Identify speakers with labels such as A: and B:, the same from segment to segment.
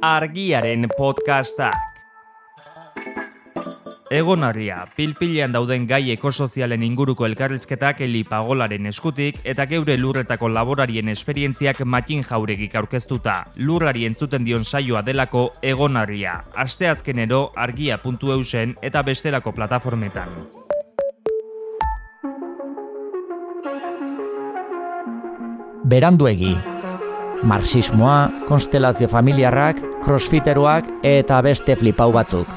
A: argiaren podcastak. Egonaria, pilpilean dauden gai ekosozialen inguruko elkarrizketak elipagolaren eskutik eta geure lurretako laborarien esperientziak matin jauregik aurkeztuta. Lurrari entzuten dion saioa delako egonarria. Asteazkenero argia.eusen eta bestelako plataformetan.
B: beranduegi. Marxismoa, konstelazio familiarrak, crossfiteroak eta beste flipau batzuk.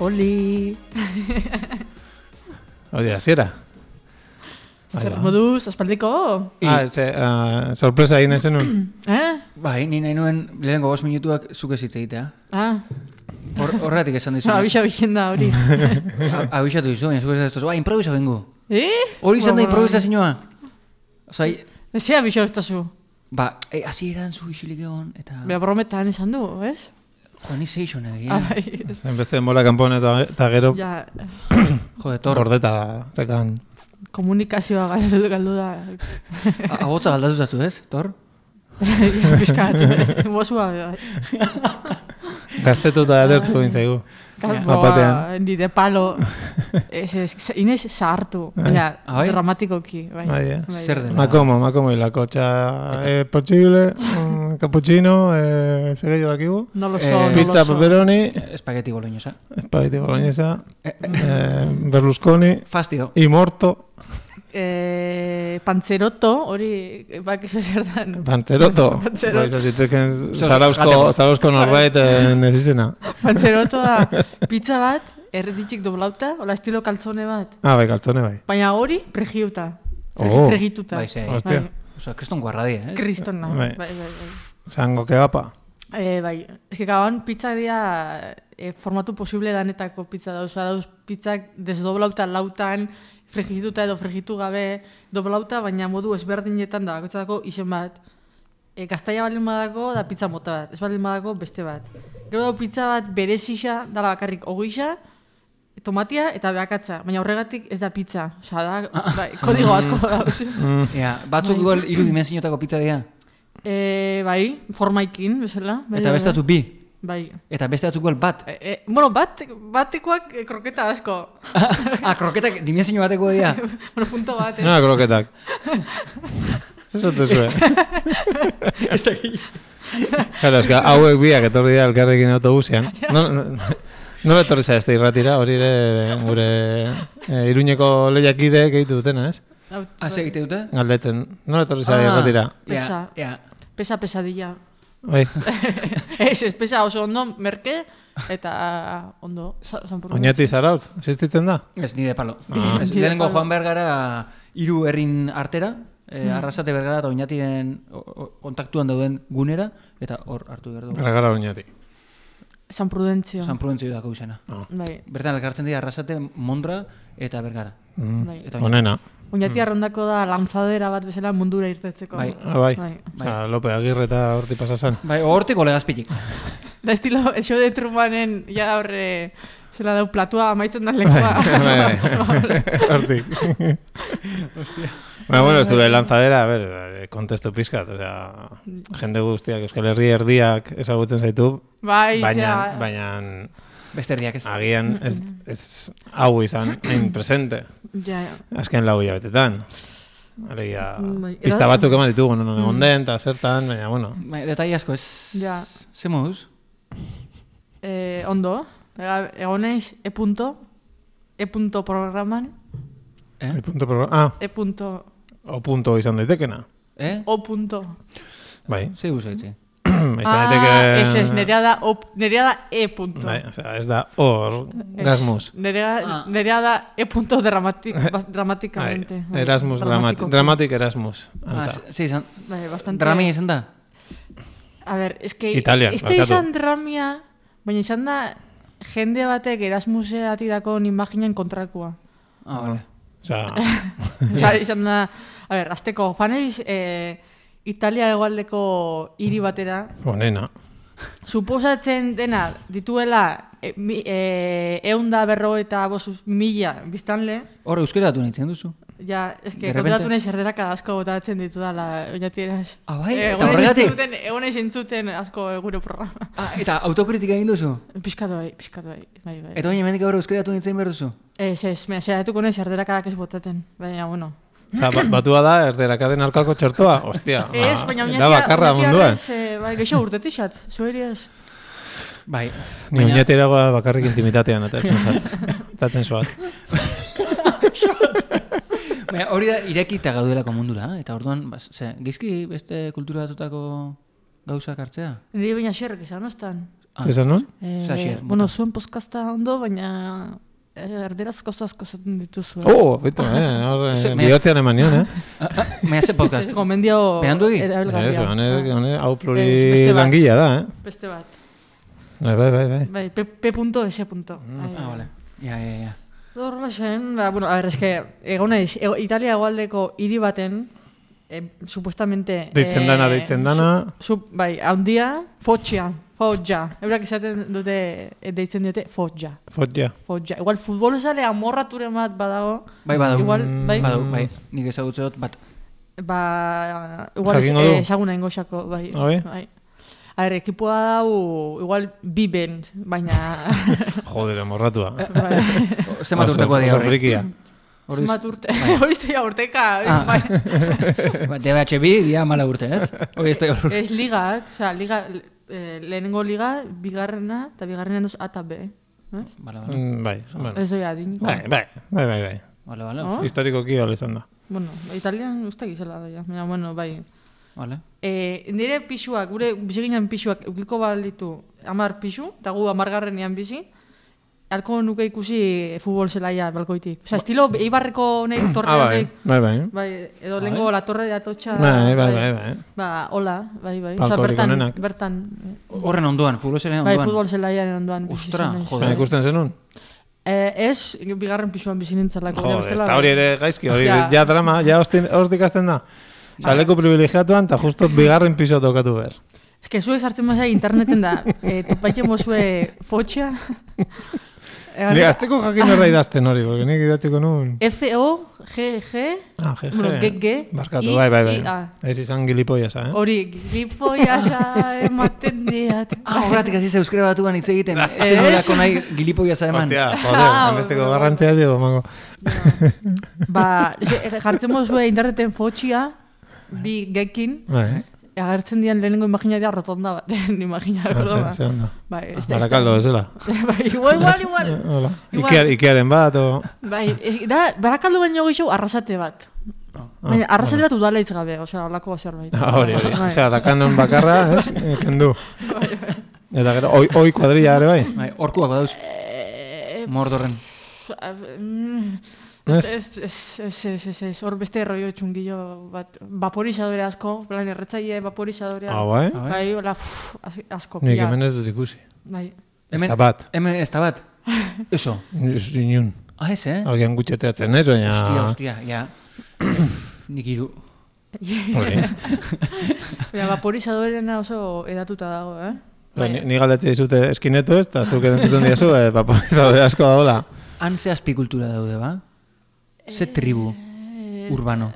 C: Oli!
D: Hori, hasiera. Bai,
C: Zer
D: ba.
C: moduz, aspaldiko?
D: Ah, ze, ah, sorpresa egin ezen nun.
C: Eh?
E: Bai, ni nahi nuen lehenengo bost minutuak zuke hitz egitea.
C: Ah,
E: Hor, horretik esan dizu.
C: no, abisa bilen da hori.
E: Abisatu dizu, baina zuke ez duzu. Ba, improvisa bengo.
C: eh?
E: Hori izan da
C: Bueno,
E: improvisa zinua. Osa,
C: bueno, Ze abisa ustazu.
E: ba, e, hasi eran zu isilik egon, eta...
C: Bea brometan esan du, ez?
E: Joan izeixo nahi,
C: Ah,
E: eh?
C: bai, ez.
D: Zenbeste mola kanpoan eta, eta gero
C: Ja,
E: Jode, tor,
D: gordeta zekan.
C: komunikazioa galdu, galdu da.
E: agotza galdatu zatu, ez? Tor?
C: Ja, Piskat, eh, mozua. bai.
D: Gaztetuta atertu bintzaigu.
C: Kalboa,
D: Bat-batean.
C: nire palo. Ez, ez, ze- Inez zahartu. Baina,
E: Ah, bai?
C: dramatikoki. Bai,
D: Bai, eh.
E: Zer dela?
D: Makomo, makomo hilako. Txa, eh, posible, mm, cappuccino, eh, ze gehiago dakigu.
C: No lo so,
E: Eh,
C: no lo
D: Pizza
C: so.
D: pepperoni,
E: Espageti boloñesa.
D: espagueti boloñesa, eh, berlusconi,
E: Fastio.
D: imorto,
C: Eh, panzeroto, hori, eh, bakizu zer
E: Ba,
C: dan.
D: panzeroto. Bai,
C: Panzeroto.
D: Baiz, aziteken
E: Zer,
D: zarauzko,
E: jateko.
D: zarauzko norbait eh, nezizena.
C: Panzeroto da, pizza bat, erretitxik doblauta, hola estilo kaltzone bat.
D: Ah, bai, kaltzone bai.
C: Baina hori, pregiuta. Pregi,
D: Oh.
C: Pregituta.
E: Bai, ze.
C: Bai,
D: Hostia,
E: Osa, kriston guarradia, eh?
C: Kristona. Bai,
D: Bai.
C: bai, bai.
D: zango kebapa.
C: Eh, bai. Ez que gaban pizza dia eh, formatu posible danetako pizza da. Osa, dauz pizzak desdoblauta lautan, fregituta edo fregitu gabe, doblauta, baina modu ezberdinetan da, bakoitzako izen bat. E, gaztaia baldin badako da pizza mota bat, ez baldin badako beste bat. Gero da pizza bat berezisa, dala bakarrik ogoisa, tomatia eta beakatza, baina horregatik ez da pizza. Osa, da, bai, kodigo asko dauz.
E: Ja, batzuk
C: Bai.
E: igual iru dimensiotako pizza dira.
C: e, bai, formaikin, bezala. Bai,
E: Eta
C: bai,
E: beste batzuk bi.
C: Bai,
E: Eta beste batzuk igual bat.
C: E, e, bueno, bat, batekoak eh, kroketa asko.
E: Ah, kroketak dimensio bateko dira.
C: bueno, punto bat, eh?
D: No, kroketak. Zezatu zuen.
E: Ez dakit.
D: Claro, eska, hauek biak etorri dira elkarrekin autobusean. No, no, no etorri zaizte irratira, hori ere gure eh, iruñeko lehiakidek egitu dutena, ez?
C: Hau,
E: Ah, ze egite dute?
D: Galdetzen, no etorri zaizte
E: Ah,
D: irratira.
E: Ja,
C: Pesa.
E: ja.
C: Pesa pesadilla.
D: Bai,
C: ez, ez, pesa oso ondo merke eta ondo. Sa, sanpurru.
D: oinati zarautz, existitzen da?
E: Ez, nide palo.
C: Ah.
E: Ez,
C: Nide
E: lehenengo
C: palo.
E: joan behar gara hiru herrin artera, eh, arrasate behar gara eta oinatiren o- o- kontaktuan dauden gunera, eta hor hartu behar dugu.
D: Gara gara oinati.
C: San Prudentzio.
E: San Prudentzio dako izena.
C: Bai,
E: Bertan elkartzen dira arrasate, mondra eta bergara.
D: Mm.
C: bai.
E: Eta
D: Onena.
C: Oñati arrondako da lantzadera bat bezala mundura irtetzeko.
E: Bai.
D: Ah, bai.
C: Bai.
D: Osa, Lope Agirre eta horti pasasan.
E: Bai, hortiko legazpitik.
C: Da estilo, el show de Trumanen, ja horre, zela dau platua amaitzen
D: Bai,
C: dan lekoa.
D: Hortik. Ba, bueno, zure lanzadera, a ver, eh, kontestu pizkat, osea, jende guztiak Euskal Herri erdiak ezagutzen zaitu,
C: bai,
D: baina,
C: zera,
D: baina
E: Beste erdiak ez.
D: agian ez, ez hau izan hain presente,
C: Ja, ja.
D: azken lau hilabetetan. Alegia,
C: Bai,
D: pista
C: era- Mm.
D: batzuk eman ditugu, non egon den, eta zertan, baina, bueno,
E: Bai, detai asko ez.
C: Ja.
E: Ze moduz?
C: Eh, ondo, Ega- egon naiz E punto, E punto programan,
E: Eh?
D: el punto programa, ah,
C: E punto,
D: o punto izan daitekena.
E: Eh?
C: O punto.
D: Bai,
E: Ze guzu etxe?
C: Ah,
D: izan
C: ez ez,
D: daiteke...
C: nerea da, o, nerea da E punto.
D: Bai, osea, ez da hor,
C: Ez,
D: gasmus.
C: Nerea,
E: Ah.
C: nerea da E punto dramatik, bas- dramáticamente.
D: Ai, Erasmus dramatic,
C: Dramatikoki.
D: dramatic Erasmus.
E: Ah,
D: antza.
E: ze ze izan.
C: Bai, bastante.
E: Drami izan da?
C: A ver, es que...
D: Italian,
C: Este
D: barkatu.
C: izan dramia, baina izan da jende batek Erasmuseatik dakon imaginen kontrakua.
E: Ah, vale.
D: Osea,
C: Osa, izan da, a ber, azteko, faneiz, eh, Italia hegoaldeko hiri batera,
D: onena.
C: suposatzen dena dituela e, mi, e, eunda berro eta bost mila biztanle,
E: Hor euskera datu nahi zen duzu.
C: ja, eske
E: De repente.
C: konturatu nahi zerderak asko botatzen ditudala, oinati ere.
E: Ah, bai? Eta
C: Egon ez
E: horregatik?
C: entzuten- Egon ez entzuten asko eh, gure programa.
E: Ah, eta autokritika egin duzu?
C: Piskatu bai, piskatu bai, bai, bai.
E: Eta baina mendik gaur euskera datu nahi zen behar duzu?
C: Eh, Ez, ez, mea, zeratuko nahi zerderakadak ez botaten, baina, bueno.
D: Osa, ba, batua da, erderakaden alkako txertoa, ostia.
E: Ah.
C: Ez,
D: ba,
C: baina
D: Da bakarra munduan.
C: Ez, eh, bai, geixo urtetik xat, zuheri ez.
E: Bai.
D: Ni oinatira bakarrik intimitatean, eta etzen zat. Tatzen zuat.
E: Baina Bai, hori da irekita gaudelako mundura, eta orduan, ba, ze, gizki beste kultura batutako gauzak hartzea?
C: Niri baina xerrek esan, ostan.
E: Ah.
D: Zer esan nun?
C: Eh,
E: Osea, xer, bota.
C: bueno, zuen pozkazta ondo, baina eh, erderaz gauza asko zaten dituzu.
D: Oh, bitu, eh, hor,
E: Ze-
D: eh,
E: me-
D: bihotzean eman nion, eh?
E: Ah, ah, Baina ze podcast.
C: Ez, gomendio
E: Beranduegi?
D: Ez,
C: erabilgarria.
D: honek,
C: Ah,
D: honek, hau
C: Ez,
D: pluri
C: beste bat.
D: langila da, eh?
C: Beste bat.
D: Bai, bai, bai, bai.
C: Bai, p.s.
D: Mm,
E: Ah, vale. Ja, ja, ja.
C: Zorla zen, ba, bueno, a ver, eske, egon naiz, ego- Italia egualdeko hiri baten, eh, supuestamente...
D: Deitzen
C: eh,
D: dana, deitzen dana.
C: Su, su, bai, haundia, fotxia, fotja. Eurak esaten dute, eh, deitzen diote, fotja.
D: Fot ja.
C: Fotja. Igual futbol esale amorraturen bat badago.
E: Bai, badau.
C: Igual, bai,
E: Badau, bai. Nik ezagutze dut bat.
C: ba, igual ez,
D: Jakingo du?
C: eh, ezaguna ingoxako, bai.
D: Habe?
C: bai. A ver, ekipoa dau, igual biben, baina...
D: Joder, morratua.
C: bai,
E: O, Eh, Zenbat urtekoa dira horrek?
D: Frikia.
E: Hori
C: Zenbat urte, hori zeia urteka,
E: Ah.
C: bai.
E: DBHB dia mala urte, ez? Hori ez da hor.
C: Ez ligak, osea, liga, eh, lehenengo liga, bigarrena, eta bigarrena duz A eta B. Eh?
E: Bala, bala.
D: Mm, Bai, bueno.
C: Ez doi adin.
D: Bai, bai, bai, bai, bai.
E: Bala, bala.
C: No?
D: Historiko kiola izan da.
C: Bueno, italian uste gizela doia, baina, bueno, bai.
E: Bala.
C: E, nire pixuak, gure biziginan pixuak, eukiko balitu amar pixu, eta gu amargarrenean bizi, alko nuke ikusi futbol zelaia balkoitik. Osea, estilo eibarreko nahi torre
D: Ba- Ah, bai, bai, bai.
C: Bai, edo lehenko la torre de atotxa.
D: Bai, bai, bai, bai.
C: Ba, hola, bai, bai. Osea,
D: Balkoirik
C: bertan,
D: onenak.
C: bertan,
E: Horren ondoan, futbolzelen
C: bai,
E: ondoan.
C: futbol zelaiaren ondoan. bizi
E: Ostra,
C: izan naiz.
E: joder.
D: Baina ikusten zenun?
C: Eh, ez, bigarren pisuan bizi nintzalako.
D: Joder, ez da hori ere gaizki, hori
C: Ja. Ba.
D: ja drama, ja hostin- hortik hasten da. Saleko privilegiatuan, eta justo bigarren piso tokatu behar.
C: Ez que zuek sartzen mazai interneten da, eh, topatzen mozue fotxea.
D: Ni azteko jakin berra idazten hori, porque nik idatzeko nun...
C: F-O-G-G,
D: Ah, jeje.
C: bueno, G-G,
D: Barkatu,
C: I-
D: bai, bai,
C: I-
D: bai.
C: A.
D: Ez izan gilipoiasa, eh?
C: hori, gripoiasa ematen diat.
E: Ah, horretik hasi ze euskera batuan hitz egiten. Ez
C: Ez.
E: nolako nahi gilipoia za eman.
D: Bai. Hostia, joder,
C: Ah,
D: besteko
C: bueno,
D: garrantzia dugu, mango.
C: Ba, ze- jartzen mozue interneten fotxea, bi gekin,
D: Bai,
C: agertzen dian lehenengo imaginatia rotonda baten, imagina,
D: ze-
C: gordoma.
D: Ah, ze ondo.
C: Bai, ez da- ez da-
D: Barakaldo bezala.
C: Bai, igual, igual, igual.
D: Hola.
C: Igual.
D: Ikear- Ikearen bat, o...
C: Bai, ez- da, barakaldo baino gehiago arrasate bat. Baina, arrasate bat udala hitz gabe, osea, holako zerbait.
D: Ah, Hori, hori.
C: Bai.
D: Osea, dakanon bakarra, ez? Eh, Kendu. Eta gero, oi, oi kuadrilla ere bai.
E: Bai, horkuak badauz,
C: Eh,
E: mordorren.
C: mm,
D: Ez?
C: Ez, ez, ez, ez, ez, ez, hor beste rollo txungillo bat, vaporizadore asko, plan erretzaile vaporizadorea.
D: Ah, bai?
E: Ah, bai?
C: Bai, hola, pff, az- asko
D: Nik
C: pila.
D: hemen ez dut ikusi.
C: Bai.
E: Hemen,
D: Ezta bat.
E: Hemen, ez da bat. Eso.
D: Ez Inun.
E: Ah, ez, eh?
D: Agian gutxeteatzen, ez? Baina...
E: Hostia, hostia, ja. Nik iru.
D: Hori.
C: Baina, vaporizadorena oso edatuta dago, eh?
D: Ba, Ni, ni galdetzea dizute eskinetu ez, eta zuk erantzuten diazu, eh, paporizado de asko daola.
E: Han ze azpikultura daude, ba? Ze tribu urbano.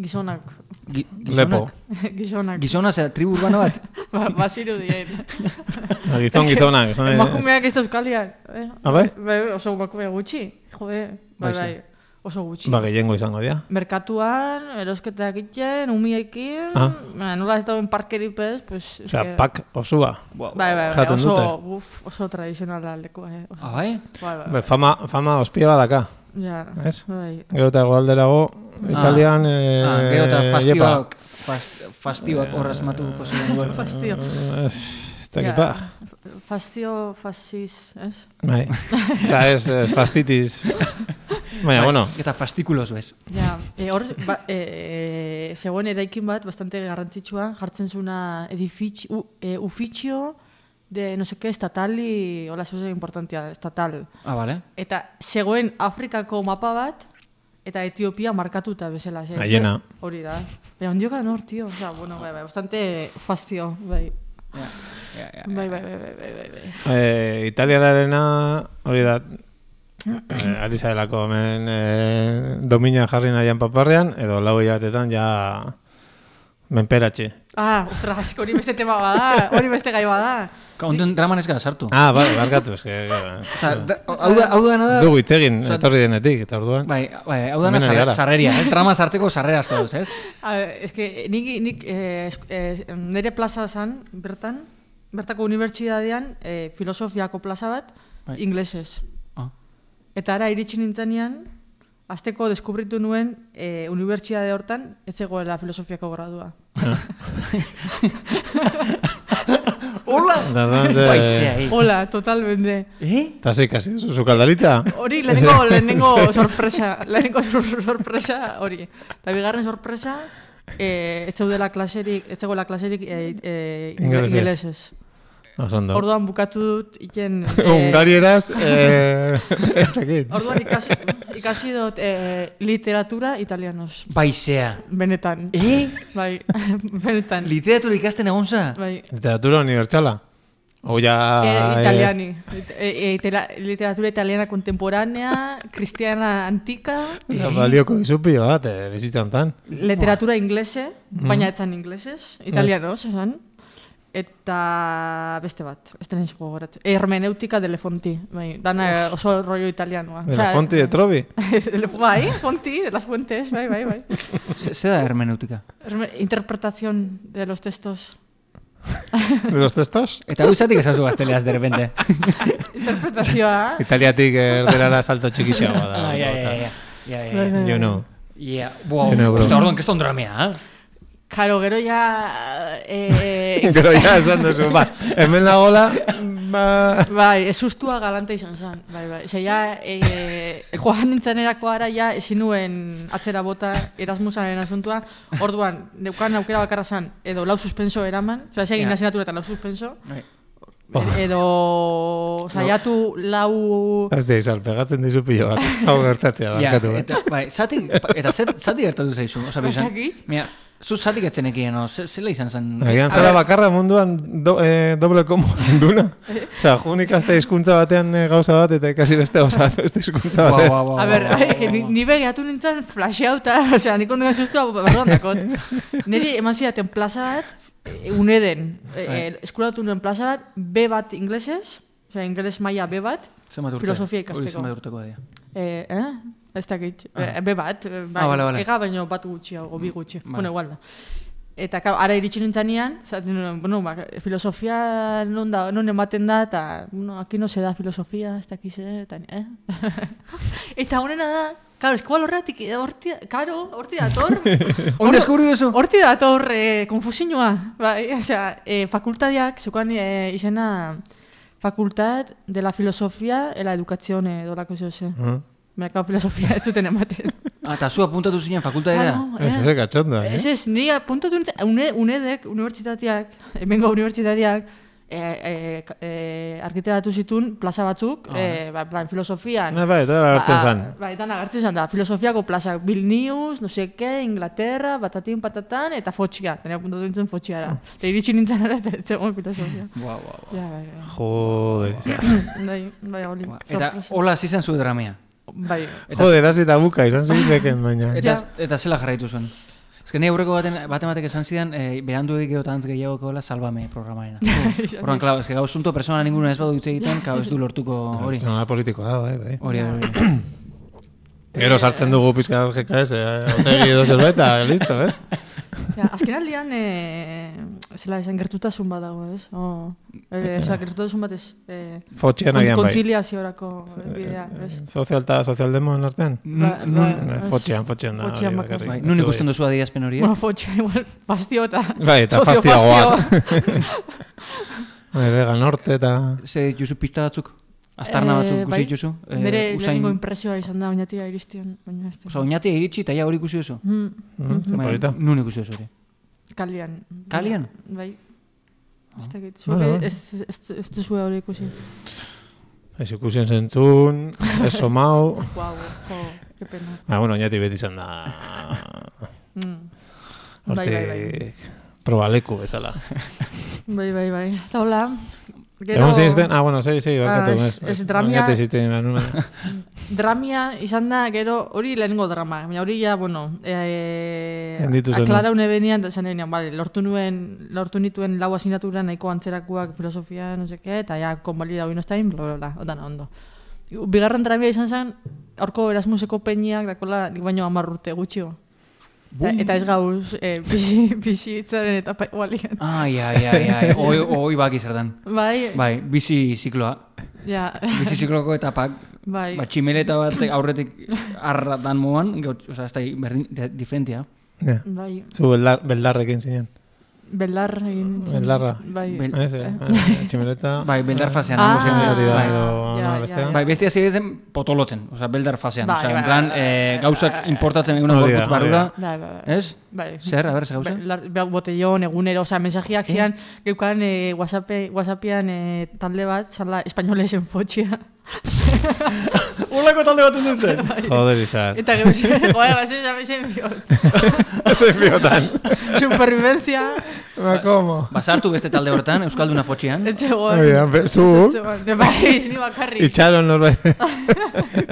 C: Gizonak.
E: Gi-
D: Lepo.
E: gizonak?
C: Gizonak.
E: Gizona ze tribu urbano bat?
C: Ba, baziru dien.
D: Ah, Gizon, gizona, gizon. eh,
C: Emakumeak ez dauzkalian. Eh?
D: Ah, bai?
C: Bai, oso emakume gutxi. Jode, bai,
E: Bai,
C: bai.
E: ze.
C: Oso gutxi.
D: Ba, gehiengo izango dira.
C: Merkatuan, erosketak egiten, umiekin,
D: Ah.
C: ah. nola ez dauen parkerik bez, pues... es
D: Osea,
C: que-
D: pak osua.
C: Bai, bai, bai,
D: jaten
C: oso,
D: dute.
C: uf, oso tradizionala lekoa, eh? Oso,
E: Ah, bai?
C: bai, bai, bai,
D: Be, fama, fama ospia badaka.
C: ja,
D: Ez?
C: bai.
D: Gero eta egoalderago, italian... Eh,
E: Ah, gero eta
D: jepa.
E: fastioak. fast- Fastioak horra asmatuko
D: Eh,
E: ziren.
C: Fastio.
D: Ah, Ez, ez dakit ba.
C: Fastio, fascis, ez?
D: Bai. Osea, ez, ez fastitis. Baina, Eh, bueno,
E: Eta fastikulos bez.
C: Ja, e, hor, ba, e, zegoen eraikin bat, bastante garrantzitsua, jartzen zuna edifici, u, e, ufficio de, no seke, estatali, hola, zuzera importantia, estatal.
E: Ah, bale.
C: Eta zegoen Afrikako mapa bat, eta Etiopia markatuta bezala. ze-
D: Aiena.
C: Hori da. Baina, ondioka nor, tio. Osea, bueno, bai, bai, bastante fastio, bai. Bai, bai, bai, bai, bai, bai, bai.
D: E, Italiararena, hori da, e, ari zarelako hemen e, domina jarri nahian paparrean, edo lau hilabetetan ja menperatxe.
C: Ah, ostras, hori beste tema bada, hori beste gai bada.
E: Onten draman ez gara sartu.
D: Ah, bai, barkatu. eske, gara.
E: Osa, da- hau da, hau dana da...
D: Dugu hitz egin,
E: Osa,
D: etorri denetik, eta orduan.
E: Bai, bai, hau dana
D: Hemen ari
E: sarre-
D: gara.
E: sarreria, ez? Drama sartzeko sarrera asko duz, ez?
C: A, ez que nik, nik eh, esk- eh, nire plaza zan, bertan, bertako unibertsitatean eh, filosofiako plaza bat,
E: Bai.
C: inglesez.
E: Ah.
C: Eta ara iritsi nintzanean, azteko deskubritu nuen eh, unibertsitate hortan ez zegoela filosofiako gradua.
E: Hola!
D: Eta orduan,
C: Bai,
D: ze-
E: Baizea, eh.
C: Hola, totalmente.
E: Eh?
D: Eta zik, hasi duzu sukaldalitza?
C: Hori lehenengo, lehenengo sorpresa, lehenengo sor- sorpresa hori. Eta bigarren sorpresa, eh, ez zeudela klaserik, ez zegoela klaserik eh, eh,
D: Ingelesez.
C: ingelesez.
D: Osondo.
C: Orduan bukatu dut iken... eh,
D: Hungarieraz, eh, ez dakit.
C: Orduan ikasi, ikasi dut eh, literatura italianos.
E: Baizea.
C: Benetan.
E: Eh?
C: Bai, benetan.
E: Literatura ikasten egon za?
C: Bai.
D: Literatura unibertsala. O
C: Eh,
D: ja...
C: italiani. Eh, eh, itela- literatura italiana contemporánea, cristiana antica,
D: Eh, balioko dizu pilo bat, eh, bizitzan tan.
C: literatura inglese,
D: Mm.
C: baina etzan inglesez, italianos, esan. Eta beste bat, ez da nizko gogoratzen. Hermeneutika delefonti, bai, dana oso rollo italianoa.
D: De la Fonti de Trovi.
C: Elef- bai, Fonti, de las Fuentes, bai, bai, bai.
E: Ze ze da hermeneutika?
C: Herme- Interpretación de los textos.
D: De los testos.
E: Eta hau izatik esazu gazteleaz, de repente.
C: Interpretazioa.
D: Italiatik erderara salto txikixeagoa da.
E: Ah, ja, ja, ja, ja. Ja,
C: Bai,
E: ja.
C: bai.
D: You know.
E: Ja, wow.
D: Yo no, bro.
E: Osta, orduan, keston dramea, eh?
C: Karo, gero ja... Eh,
D: Gero ja esan duzu, ba, hemen lagola, ba...
C: bai, ez ustua galante izan zen. Bai, bai. Zer, ja, eh, joan nintzen erako ara, ja, ezin nuen atzera bota Erasmusaren asuntua. Orduan, neukan aukera bakarra zen, edo lau suspenso eraman. Osa, ez egin
E: Ja.
C: asignatura eta lau suspenso.
E: Bai.
C: Edo saiatu lau...
D: Ez da izan, pegatzen dizu pilo bat. Hau gertatzea,
E: Ja,
D: barkatu. eh.
E: eta, bai, zati, eta zet- zati gertatu zaizu, oza, bizan.
C: Ezakit.
E: Mira, zu zatik etzenekien, no? Ze- Zela izan zen?
D: Agian zara bakarra munduan do, eh, doble komo duna. Osa, junik azte hizkuntza batean eh, gauza bat eta ikasi beste gauza bat, eh? beste hizkuntza
E: Wow,
D: batean.
E: wow, wow,
C: A ber,
E: wow, wow,
C: que ni,
E: wow.
C: ni begiratu nintzen flashauta, osea, niko nuen sustua barruan dakot. Niri eman zidaten plaza bat, e, uneden, e, e, eskuratu nuen plaza bat, B bat inglesez, osea, ingeles maila B bat,
E: Zenbat urte?
C: filosofia
E: Hori
C: ikasteko.
E: zenbat urteko da.
C: E, eh? Ez dakit, e, B bat, e, bai,
E: Ah, Mm, bale, bale.
C: ega baino bat gutxiago, bi gutxi,
E: Bale.
C: bueno, igual da. Eta, claro, ara iritsi nintzanean, zaten, nuen, bueno, ba, filosofia non, da, non ematen da, eta, bueno, aquí no se da filosofia, ez dakiz, eh? Eta, ni- eh? eta honena da, claro, eskual horretik, eh, horti, karo, horti dator,
E: Oin deskubri duzu?
C: horti dator, eh, konfusinua, bai, osea, eh, fakultadiak, zeukan eh, izena, fakultat de la filosofia e la educazione, dolako zeo ze.
D: Ah,
C: Merkao filosofia ez zuten ematen.
E: Ah, Eta zu apuntatu zinen fakultatera?
C: Claro,
D: Ah, Ez, ez, katxonda,
C: Ah, Ez
D: eh?
C: ez, ni apuntatu nintzen, une, unedek, unibertsitateak, hemengo unibertsitateak, e, e, ka- e, arkitekturatu zituen plaza batzuk, e, ba, plan, filosofian.
D: Ah, bai, eta hor agertzen
C: Ba,
D: zan.
C: Ba, eta agertzen zan, da, filosofiako plaza, Vilnius, no seke, Inglaterra, batatin patatan, eta fotxia, tenia apuntatu nintzen
D: Ah.
C: fotxiara. Eta iritsi nintzen ara, eta ez zegoen filosofia.
E: Wow, wow, wow.
C: Ja, bai, bai.
D: Jode.
C: Bai, bai, hori.
E: Eta
C: sorpresa.
E: hola hasi zen zu dramea.
C: Bai,
D: Jode, erazi eta buka izan ziteken, baina.
E: Eta, eta zela jarraitu zuen. Ez que ni aurreko baten, baten batek esan zidan, eh, berandu egin gero tantz gehiago kola salbame programarena. Horren, klar, ez que gau zunto persona ninguna ez badu hitz egiten, kau ez du lortuko hori.
D: Zona politikoa da, bai, bai.
E: Hori, hori, hori.
D: Gero sartzen dugu pizka bat GKS, eh, otegi edo zerbait, eta listo, ez?
C: Ja, azken aldean, e, zela esan gertutasun bat dago, ez? Oh, e, oza, gertutasun bat ez. E,
D: Fotxian Eh, agian bai. eh,
C: Kontziliaziorako bidea, ez?
D: Sozial eta sozialdemoen artean?
E: Mm,
C: Ba, ba, ez.
D: Fotxian, fotxian da.
C: Fotxean
D: hori
C: bakarrik.
D: bakarrik.
E: Bai, nun ikusten duzu adierazpen hori? eh?
C: Bueno, fotxean, igual, fastio eta...
D: Bai, eta
C: sozio
D: fastioagoak.
C: fastio.
D: Bai, Vega Norte eta...
E: Ze dituzu pista batzuk? Aztarna batzuk
C: Eh,
E: ikusi
C: bai.
E: dituzu? Eh,
C: Nire
E: usain,
C: lehenengo impresioa izan da, oinatira iristian, baina ez
E: oza,
C: da.
E: oñati iritsi eta ja hori ikusi duzu?
C: Mm,
D: Mm, zer
E: Bai,
D: polita.
E: Nun ikusi duzu hori?
C: kalian.
E: Kalian? Ah.
C: Bai. Ez dakit,
D: Bale,
C: zuke
D: bale.
C: ez, ez, ez duzue hori ikusi.
D: Ez ikusien zentzun, ez somau...
C: Guau, jo, que pena.
D: Ba, bueno, oinati beti izan da...
C: Mm. Bai, bai, bai.
D: Hortik... Probaleku bezala.
C: Bai, bai, bai. Eta hola.
D: Egon zinezten, ah, bueno, zei, zei, barkatu.
C: Ah, ez-
D: ez,
C: ez dramia-
D: Baina zizten, nuna.
C: Dramia izan da, gero, hori lehenengo drama, baina hori ja, bueno, e,
D: Handitu zen.
C: aklara une benean, da esan nion, bale, lortu nuen, lortu nituen lau asignatura nahiko antzerakoak filosofia, no seke, eta ja, konbalida hori nosttain, bla, bla, bla, otan ondo. Bigarren dramia izan zen, horko Erasmuseko peiniak, dakola, nik baino hamar urte gutxio. Eta, eta ez gauz, e, pixi, pixi itzaren eta pa, igualian.
E: Ai, ai, ai, ai. Oi, oi baki zer den.
C: Bai,
E: Bai, bizi zikloa.
C: ja,
E: Bizi zikloko etapak.
C: bai,
E: Ba, tximeleta bat aurretik arra dan moan, gau, oza, ez da berdin, de- diferentia.
D: Ja.
C: bai,
D: Zu beldar, beldarrekin zinen.
C: beldar egin. nintzen.
D: Beldarra.
C: Bai,
E: Bel-
D: Ez, eh? Tximeleta.
E: Bai, beldar fasean.
C: Ah,
E: nagusi handia.
D: Hori da,
E: Bai.
D: edo
C: ja,
D: ama
C: ja,
D: bestean.
C: ja.
E: Bai, beste hasi zen potolotzen, oza, beldar fasean.
C: Bai,
E: Oza,
C: bai,
E: en plan,
C: bai,
E: eh,
C: bai,
E: gauzak
C: bai,
E: importatzen eguna
D: Hori da,
E: gorputz
D: hori
E: barrura.
D: da.
C: Bai, bai, bai.
E: Ez?
C: Bai.
E: Zer, a ber, ze gauza?
C: Be- lar- be- Botellón, egunero, oza, mensajeak zian, geukan eh, WhatsApp, WhatsAppian eh, talde bat, txala, espainolesen fotxia.
E: Olako talde bat entzun zen.
C: Bai.
D: Joder, izar.
C: Eta gero ziren, joder, base, ya me zen biot.
D: Zer biotan.
C: Supervivencia,
D: Ba, como?
E: Basartu beste talde hortan, Euskalduna fotxean.
D: Hoi da,
C: etzegoen.
D: be- zu,
C: Etzegoen. Bai, ni bakarrik.
D: uh, itxaron norbait.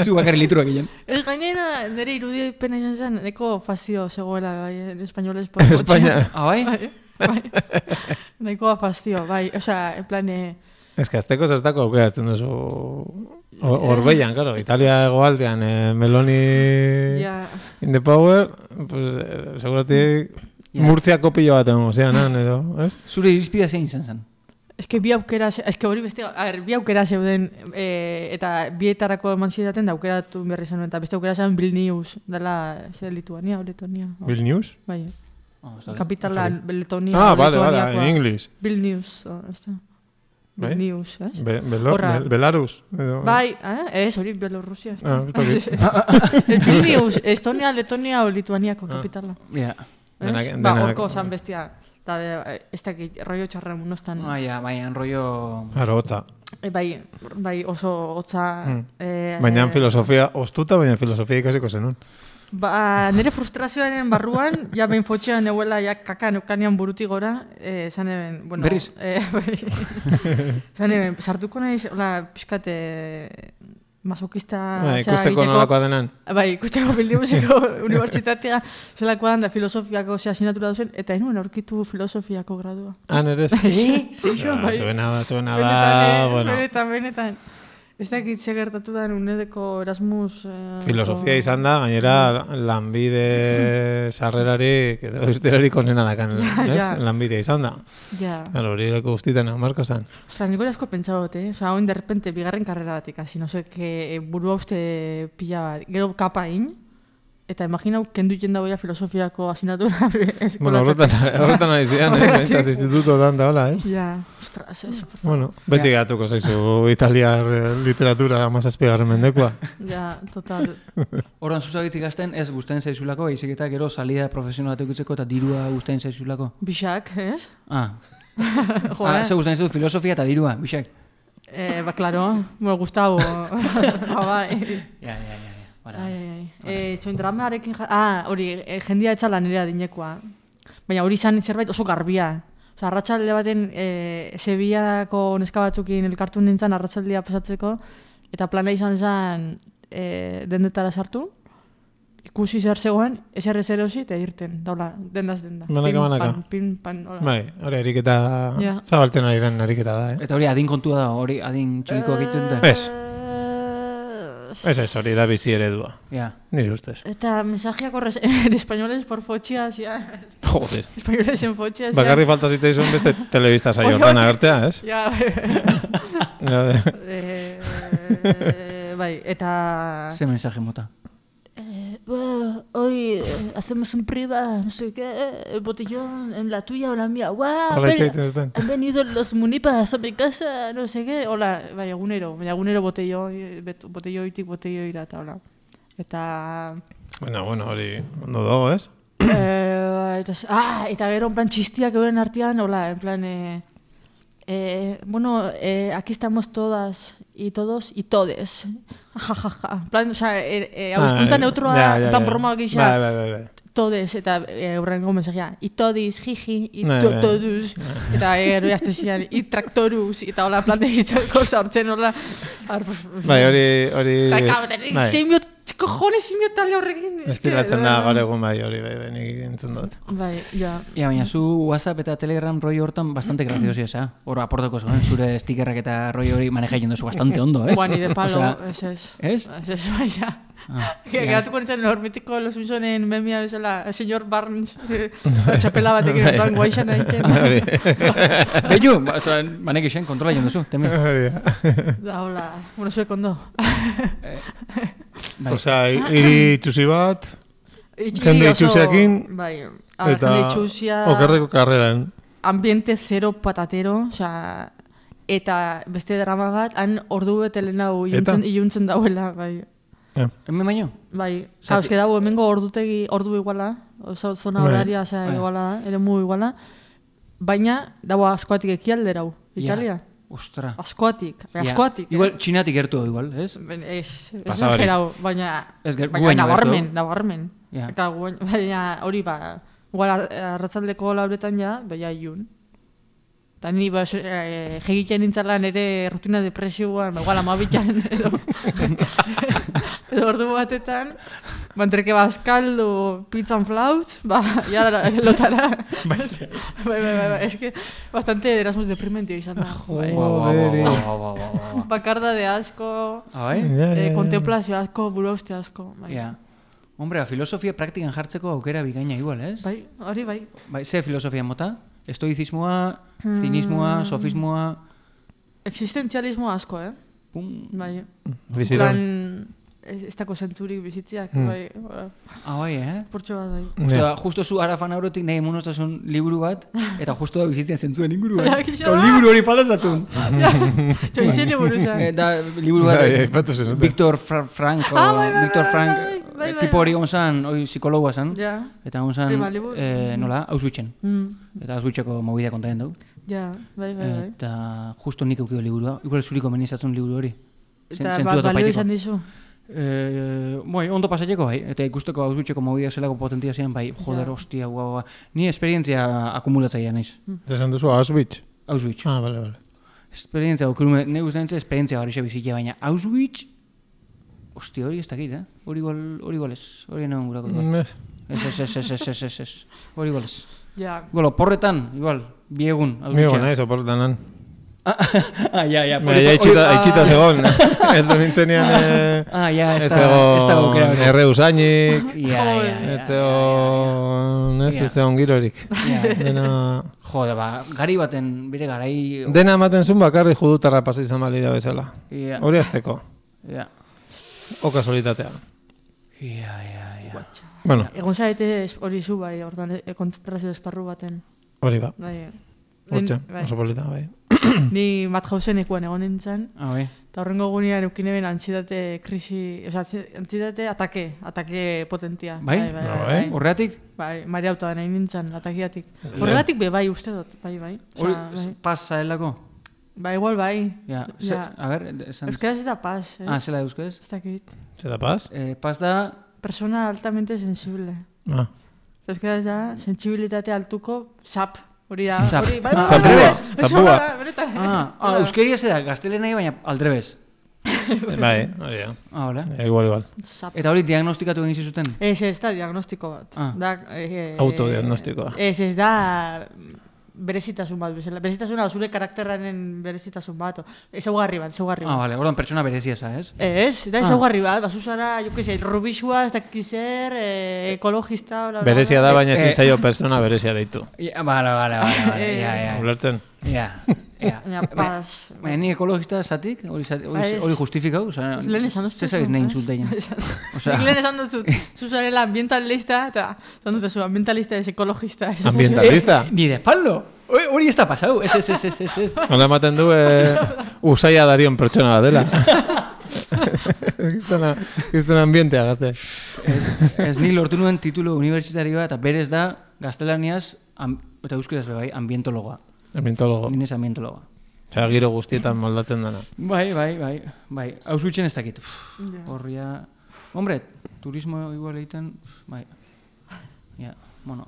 E: Zu bakarri litruak egin.
C: Ez gainera, nire irudi pena izan zen, neko fazio zegoela, bai, espainoles por fotxia.
D: España.
E: Ah, bai?
C: Bai, bai. Nekoa fazio, bai, oza, en plan, eh,
D: Ez que azteko zertako aukeratzen duzu hor- Horbeian, claro, Italia egoaldean, eh, Meloni
C: ja,
D: in the power, pues, eh, seguratik
E: Ja.
D: Murtziako pilo bat egon, zean, han, edo, ez?
E: Zure irizpidea zein izan zen.
C: Eske bi aukera, ze- eske hori beste, a ber, bi aukera zeuden e, eta bietarako eman zidaten da aukeratu berri zenuen eta beste aukera zen Vilnius, dela ze Lituania o Letonia. o-
D: Vilnius?
C: Bai,
E: Oh, ez da-
C: kapitala Letonia.
D: Ah,
C: o
D: vale, vale,
C: Letoniakoa.
D: en English.
C: Vilnius, o, ez da.
D: Bai?
C: Vilnius, ez?
D: Be, belo,
C: Horra.
D: bel, belarus. Edo,
C: Bai, eh? ez, hori Bielorrusia. ez da.
D: Ah, ez dakit.
C: Vilnius, Estonia, Letonia o Lituaniako kapitala.
E: Ja.
C: Ez?
D: Ah. Denak-
C: Ba,
D: denak-
C: horko zan bestia. Eta be- ez dakit, rollo txarra munostan.
E: Ah, ja, bai, enrollo...
D: Claro, hotza.
C: E, bai, bai oso hotza...
D: Mm.
C: eh,
D: Baina
C: eh,
D: filosofia, ostuta, baina filosofia ikasiko zenun.
C: Ba, nire frustrazioaren barruan, ja behin fotxean neuela, ja kaka neukanean buruti gora, eh, esan eben, bueno...
E: Berriz?
C: Eh, bai, esan eben, sartuko naiz, hola, pixkate, masokista...
D: Ah,
C: osea,
D: ikusteko
C: egiteko-
D: nolakoa denan.
C: Bai, ikusteko Bildimuseko unibertsitatea zelakoan da filosofiako ze asignatura duzen, eta enuen aurkitu filosofiako gradua.
D: Han ere ez.
C: Eh, zeixo,
D: Ah,
C: bai.
D: Zuena da, zuena da,
C: Benetan, eh,
D: Ah, bueno.
C: benetan, benetan. Ez dakit ze gertatu da unedeko Erasmus... Eh,
D: Filosofia
C: ko-
D: izan da, gainera lanbide sarrerarik, edo eusterarik onena dakan,
C: Ja,
D: ez?
C: ja.
D: Lanbidea izan da.
C: Ja.
D: Claro, hori leko guztietan marko zan.
C: Osa, nik hori asko pentsa dut, eh? Osa, oin derrepente, bigarren karrera batik, hasi, no sé, que burua uste pila bat, gero kapa in, eta imaginau, kendu jenda boia filosofiako asinatura
D: Bueno,
C: eskola.
D: horretan, horretan ari zian, eh? Bentsat instituto dan da, hola, eh?
C: Ja, ostras, ez,
D: Bueno, beti gatuko zaizu italiar eh, literatura amazazpigarren mendekoa.
C: ja, total.
E: Orduan zuzagitzik gazten ez gusten zaizulako, baizik eta gero salida profesional bat edukitzeko eta dirua gusten zaizulako.
C: Bixak, ez?
E: Ah,
C: Jo,
E: ah ze
C: eh?
E: gusten zaizu filosofia eta dirua, bixak.
C: eh? Ba, klaro, bueno, Gustavo, ba, bai.
E: Ja, ja, ja, ja. Bara.
C: Ai, ai, ai. Eh, txoin dramarekin ja... Ah, hori, eh, jendia etxala nire adinekoa. Baina hori izan zerbait oso garbia. Osa, arratsalde baten eh, Sevillako neska batzukin elkartu nintzen arratsaldea pasatzeko, eta plana izan zen eh, dendetara sartu, ikusi zer zegoen, ezer ezer erosi, eta irten, daula, dendaz denda.
D: Banaka,
C: Pin,
D: banaka.
C: Pan, pin, pan, hola.
D: Bai, hori eriketa,
C: Ja.
D: zabaltzen ari den eriketa da, eh?
E: Eta hori adin kontua da, hori adin txikikoa egiten da.
C: Bai.
D: Eh. Ez. Ez ez, hori da bizi eredua,
E: Ja.
D: nire ustez.
C: Eta mensajeak horrez, en españoles por fotxia, zia.
D: Joder.
C: Españoles en fotxia, zia.
D: Bakarri falta zitzaizun beste telebista saio hortan agertzea, ez?
C: Ja,
D: Ja, de-
C: Eh, bai, eta...
E: Ze mensaje mota.
C: Bueno, hoy eh, hacemos un priva, no sé qué, el botellón en la tuya o la mía. ¡Guau!
D: Horrela
C: ven-
D: hitz egiten zuten.
C: han venido los munipas a mi casa, no sé qué. Hola, bai, egunero, baina egunero botelloi, bet- botelloitik botelloira eta hola. Eta...
D: Bueno, bueno, hori ondo dago, ez?
C: eh, eta, ah, eta gero, en plan, txistiak euren artean, hola, en plan, eh, eh, bueno, eh, aquí estamos todas y todos y todes.
D: Ah,
C: Ja,
D: eh,
C: ja, ja. En plan, o sea, eh, eh, hau hizkuntza neutroa, en plan, broma gisa,
D: Bai, bai, bai, bai.
C: todes, eta e, urrengo mensajea, itodiz, jiji,
D: Ne, ne.
C: itotoduz, eta eh, gero jazte zian, itraktoruz, eta hola plante egiteko sartzen, hola, ar,
D: Bai, hori... hori...
C: Eta, claro, tenéis
D: bai,
C: simio, kojones simio talde horrekin. eh,
D: Estilatzen da gaur egun bai hori, bai, bai, nik entzun dut.
C: Bai, ja.
E: Ja, baina zu WhatsApp eta Telegram roi hortan bastante graziosi esa. Hor aportako zuen, zure stickerrak eta roi hori maneja duzu bastante ondo, ez?
C: Bueno, y de palo,
E: Osea,
C: ez ez.
E: ¿ez?
C: Ez ez, bai, ja.
E: Ah,
C: Que
E: ja.
C: geratuko nintzen hor mitiko Los Simpsonen memia bezala, el señor Barnes, eh, txapela batek erotan guaixan egiten.
D: Hori,
E: Beidu, ba, osea, manek isen, kontrola egin duzu, temen.
D: hori.
C: Da, hola, bueno, zuek ondo.
E: Bai.
D: Osa, hiri itxusi bat,
C: Itxi
D: Jende
C: oso-
D: itxusiakin,
C: Bai, a ver,
D: eta
C: jende itxusia,
D: okerreko karreran.
C: ambiente zero patatero, osea, eta beste drama bat, han ordu bete lehenago
D: Eta?
C: iluntzen, iluntzen dauela, bai.
E: Hemen baino?
C: Bai,
E: Zati-
C: Zati... eske dago hemengo ordutegi, ordu iguala, oso zona
D: Bai.
C: horaria, osea,
E: Bai.
C: iguala da, ere mu iguala, baina dago askoatik ekialderau,
E: Ja.
C: Italia.
E: Ostra.
C: Askoatik,
E: Ja.
C: askoatik. eh?
E: Igual, txinatik gertu, igual, ez?
C: Ben, Ez, ez
D: Pasa hori.
C: exagerau, baina,
E: Ez ger-
C: baina
E: guaino, ez
C: nabarmen,
E: du?
C: nabarmen.
E: Ja.
C: Eta guain- baina hori ba, igual ar- arratsaldeko lauretan ja, baina iun. Eta ni ba, e, jegiten nintzalan ere rutina depresioan, ba, igual amabitan edo, edo ordu batetan, bantreke bazkaldu pizzan flautz, ba, ja lotara. bai, bai, bai, bai, eske, bastante Erasmus deprimentio izan da. bai.
E: Ba, ba, ba,
D: Joderi.
E: ba, ba, ba, ba, ba, ba.
C: Bakarda de asko,
E: Ah, bai?
D: Mm, Ja, ja,
C: Eh,
D: ja.
C: kontemplazio asko, buruauste asko. Bai.
E: Ja. Hombre, a filosofia praktikan jartzeko aukera bikaina igual, ez?
C: Bai, hori bai.
E: Bai, ze filosofia mota? Estoizismoa,
C: Mm.
E: zinismoa, sofismoa...
C: Existentzialismo asko, eh?
E: Pum.
C: Bai.
D: Biziran.
C: ez, ez dako zentzurik bizitziak, bai. hola,
E: Ah, bai, eh?
C: Portxo bat, bai.
E: Justo,
D: Ja.
E: justo zu arafan aurotik nahi emonostazun liburu bat, eta justo da bizitzen zentzuen inguruan.
C: Ja, gixo.
E: Kau liburu hori palazatzun.
C: Txo, izene buruzan.
E: Eta liburu bat, eh,
D: Bai, aipatu zenuten.
E: Victor Fra Franco,
C: Ah, bai, bai,
E: Victor
C: bai,
E: Frank, eh,
C: bai, bai, bai, bai.
E: tipo hori gonzan, hori psikologoa zan,
C: Ja,
E: eta gonzan,
C: Bai, ba, liburu.
E: eh, nola, ausbitzen.
C: mm,
E: Eta ausbitzeko mobidea kontaien dugu.
C: ja, bai, bai, bai.
E: Eta justo nik eukio liburua, igual zuriko menizatzen liburu hori. Zen-
C: Eta
E: zentzua
C: ba, balio
E: paiteko.
C: izan dizu.
E: Eh, bai, ondo pasateko bai, eta ikusteko ausbitzeko mobidea zelako potentia zian, bai, joder,
C: Ja.
E: hostia, guau, guau. Ni esperientzia akumulatzaia naiz,
D: Zesan duzu Auschwitz.
E: Auschwitz.
D: Ah, bale, bale.
E: Esperientzia, okurume, ne guztain esperientzia hori xe bizitia, baina Auschwitz, hostia, hori ez dakit, eh? Hori igual, hori igual ez, hori nagoen gurako. igual.
D: Mm, eh.
E: Ez, ez, ez, ez, ez, ez, ez, ez, hori igual ez.
C: Ja,
E: Igual, porretan, igual, biegun,
D: Ni
E: Auschwitz.
D: gona, ez, oportan lan.
E: Ah, ja, ja,
D: Baina, ja itxita, itxita segon. Edo nintzenean... eh,
E: Ah, ja, ez
D: Ez
E: da, ez da
D: dago
E: aukera. hori.
D: erre usainik,
E: Ja, ja,
D: ez
E: ja.
D: dago... Ez
E: Ja.
D: ez dago girorik.
E: ja.
D: Dena...
E: Jode, ba, gari baten bere garai...
D: Dena ematen zuen bakarri judutarra pasa izan balira bezala.
E: Ja,
D: Hori azteko,
E: ja,
D: o kasualitatea.
E: ja, ja, ja.
D: Bueno,
C: egon zaite es- hori zu, bai, orduan e, kontzentrazio esparru baten.
D: hori ba.
C: Bai. Ni-
D: Hortxe,
C: bai.
D: oso polita, bai.
C: Ni Madhausen ekuen egon nintzen,
E: A ber,
C: eta horrengo gunean eukin eben antzidate krisi, oza, antzidate atake, atake potentia.
E: Bai?
D: Ba, bai.
E: horregatik,
C: Bai, mareauta da nahi nintzen, atakiatik.
D: Ja.
C: Horregatik be, bai, uste dut, bai, bai.
E: hori
C: Osea, bai.
E: pasa helako?
C: Ba, igual bai.
E: Ja, ze,
C: Ja.
E: a ber, de- esan...
C: Euskaraz ez da paz, ez?
E: Ah, zela euskaz?
C: Ez dakit.
D: Zeta paz?
E: Eh, pas da...
C: Persona altamente sensible.
D: Ah.
C: Euskaraz da, sensibilitate altuko, sap. Hori da,
E: Zap.
C: hori, bai,
E: Ah,
C: bai,
D: zapua,
C: bai, bai, bai,
D: zapua.
C: bai, benetan. Bai.
E: Ah, ah euskeria ze da, gaztelenai baina aldrebez.
D: Bai, hori da.
E: Ah, hola.
D: Eh, Igual, igual.
C: Sap.
E: Eta hori diagnostikatu egin zizuten?
C: Ez, ez da, diagnostiko bat.
E: Ah.
C: Da, eh, eh,
D: Autodiagnostikoa.
C: Ez, ez da, berezitasun bat bezala. Berezitasuna, zure karakterraren berezitasun bat. o- Ezaugarri bat, ezaugarri bat.
E: Ah, vale, orduan pertsona berezia za, ez?
C: Ez, da
E: Ah.
C: ezaugarri bat, bazuzara, jo que se, rubixua, ez dakiz zer, eh, ekologista, bla, bla, bla.
D: Berezia da, baina
E: Eh,
D: ezin zaio persona berezia deitu.
E: Ja, bale, bale, bale, bale,
C: Eh,
E: ja, ja,
D: Ulertzen?
E: ja,
C: Baina,
E: ja. Ba-
C: pas.
E: Baina Eh, ni ekologista zatik, hori zati- hori-
C: Ba, ez.
E: hori justifikau, oza...
C: Lehen esan dut.
E: Ze zagiz nahi insulteien. Osea-
C: Osea. Lehen esan dut zut, zu zarela ambientalista, eta esan dut zu, ambientalista ez ekologista. ez-
D: Ambientalista.
E: Ni de espaldo. Hori- Hori ez da pasau, ez, ez, ez, ez, ez, ez.
D: Nola ematen du, eh, usaia darion pertsona bat dela. Giztona, giztona ambientea, gazte.
E: Ez- Ez nik lortu nuen titulo unibertsitarioa eta berez da gaztelaniaz am, eta euskeraz be bai, ambientologoa.
D: Ambientologo.
E: Ni naiz ambientologoa.
D: Osea, giro guztietan moldatzen dana.
E: Bai, bai, bai, bai. Ausuitzen ez dakit. Uf,
C: Ja.
E: Horria... Hombre, turismo igual egiten... uf, Bai. Ja, bueno.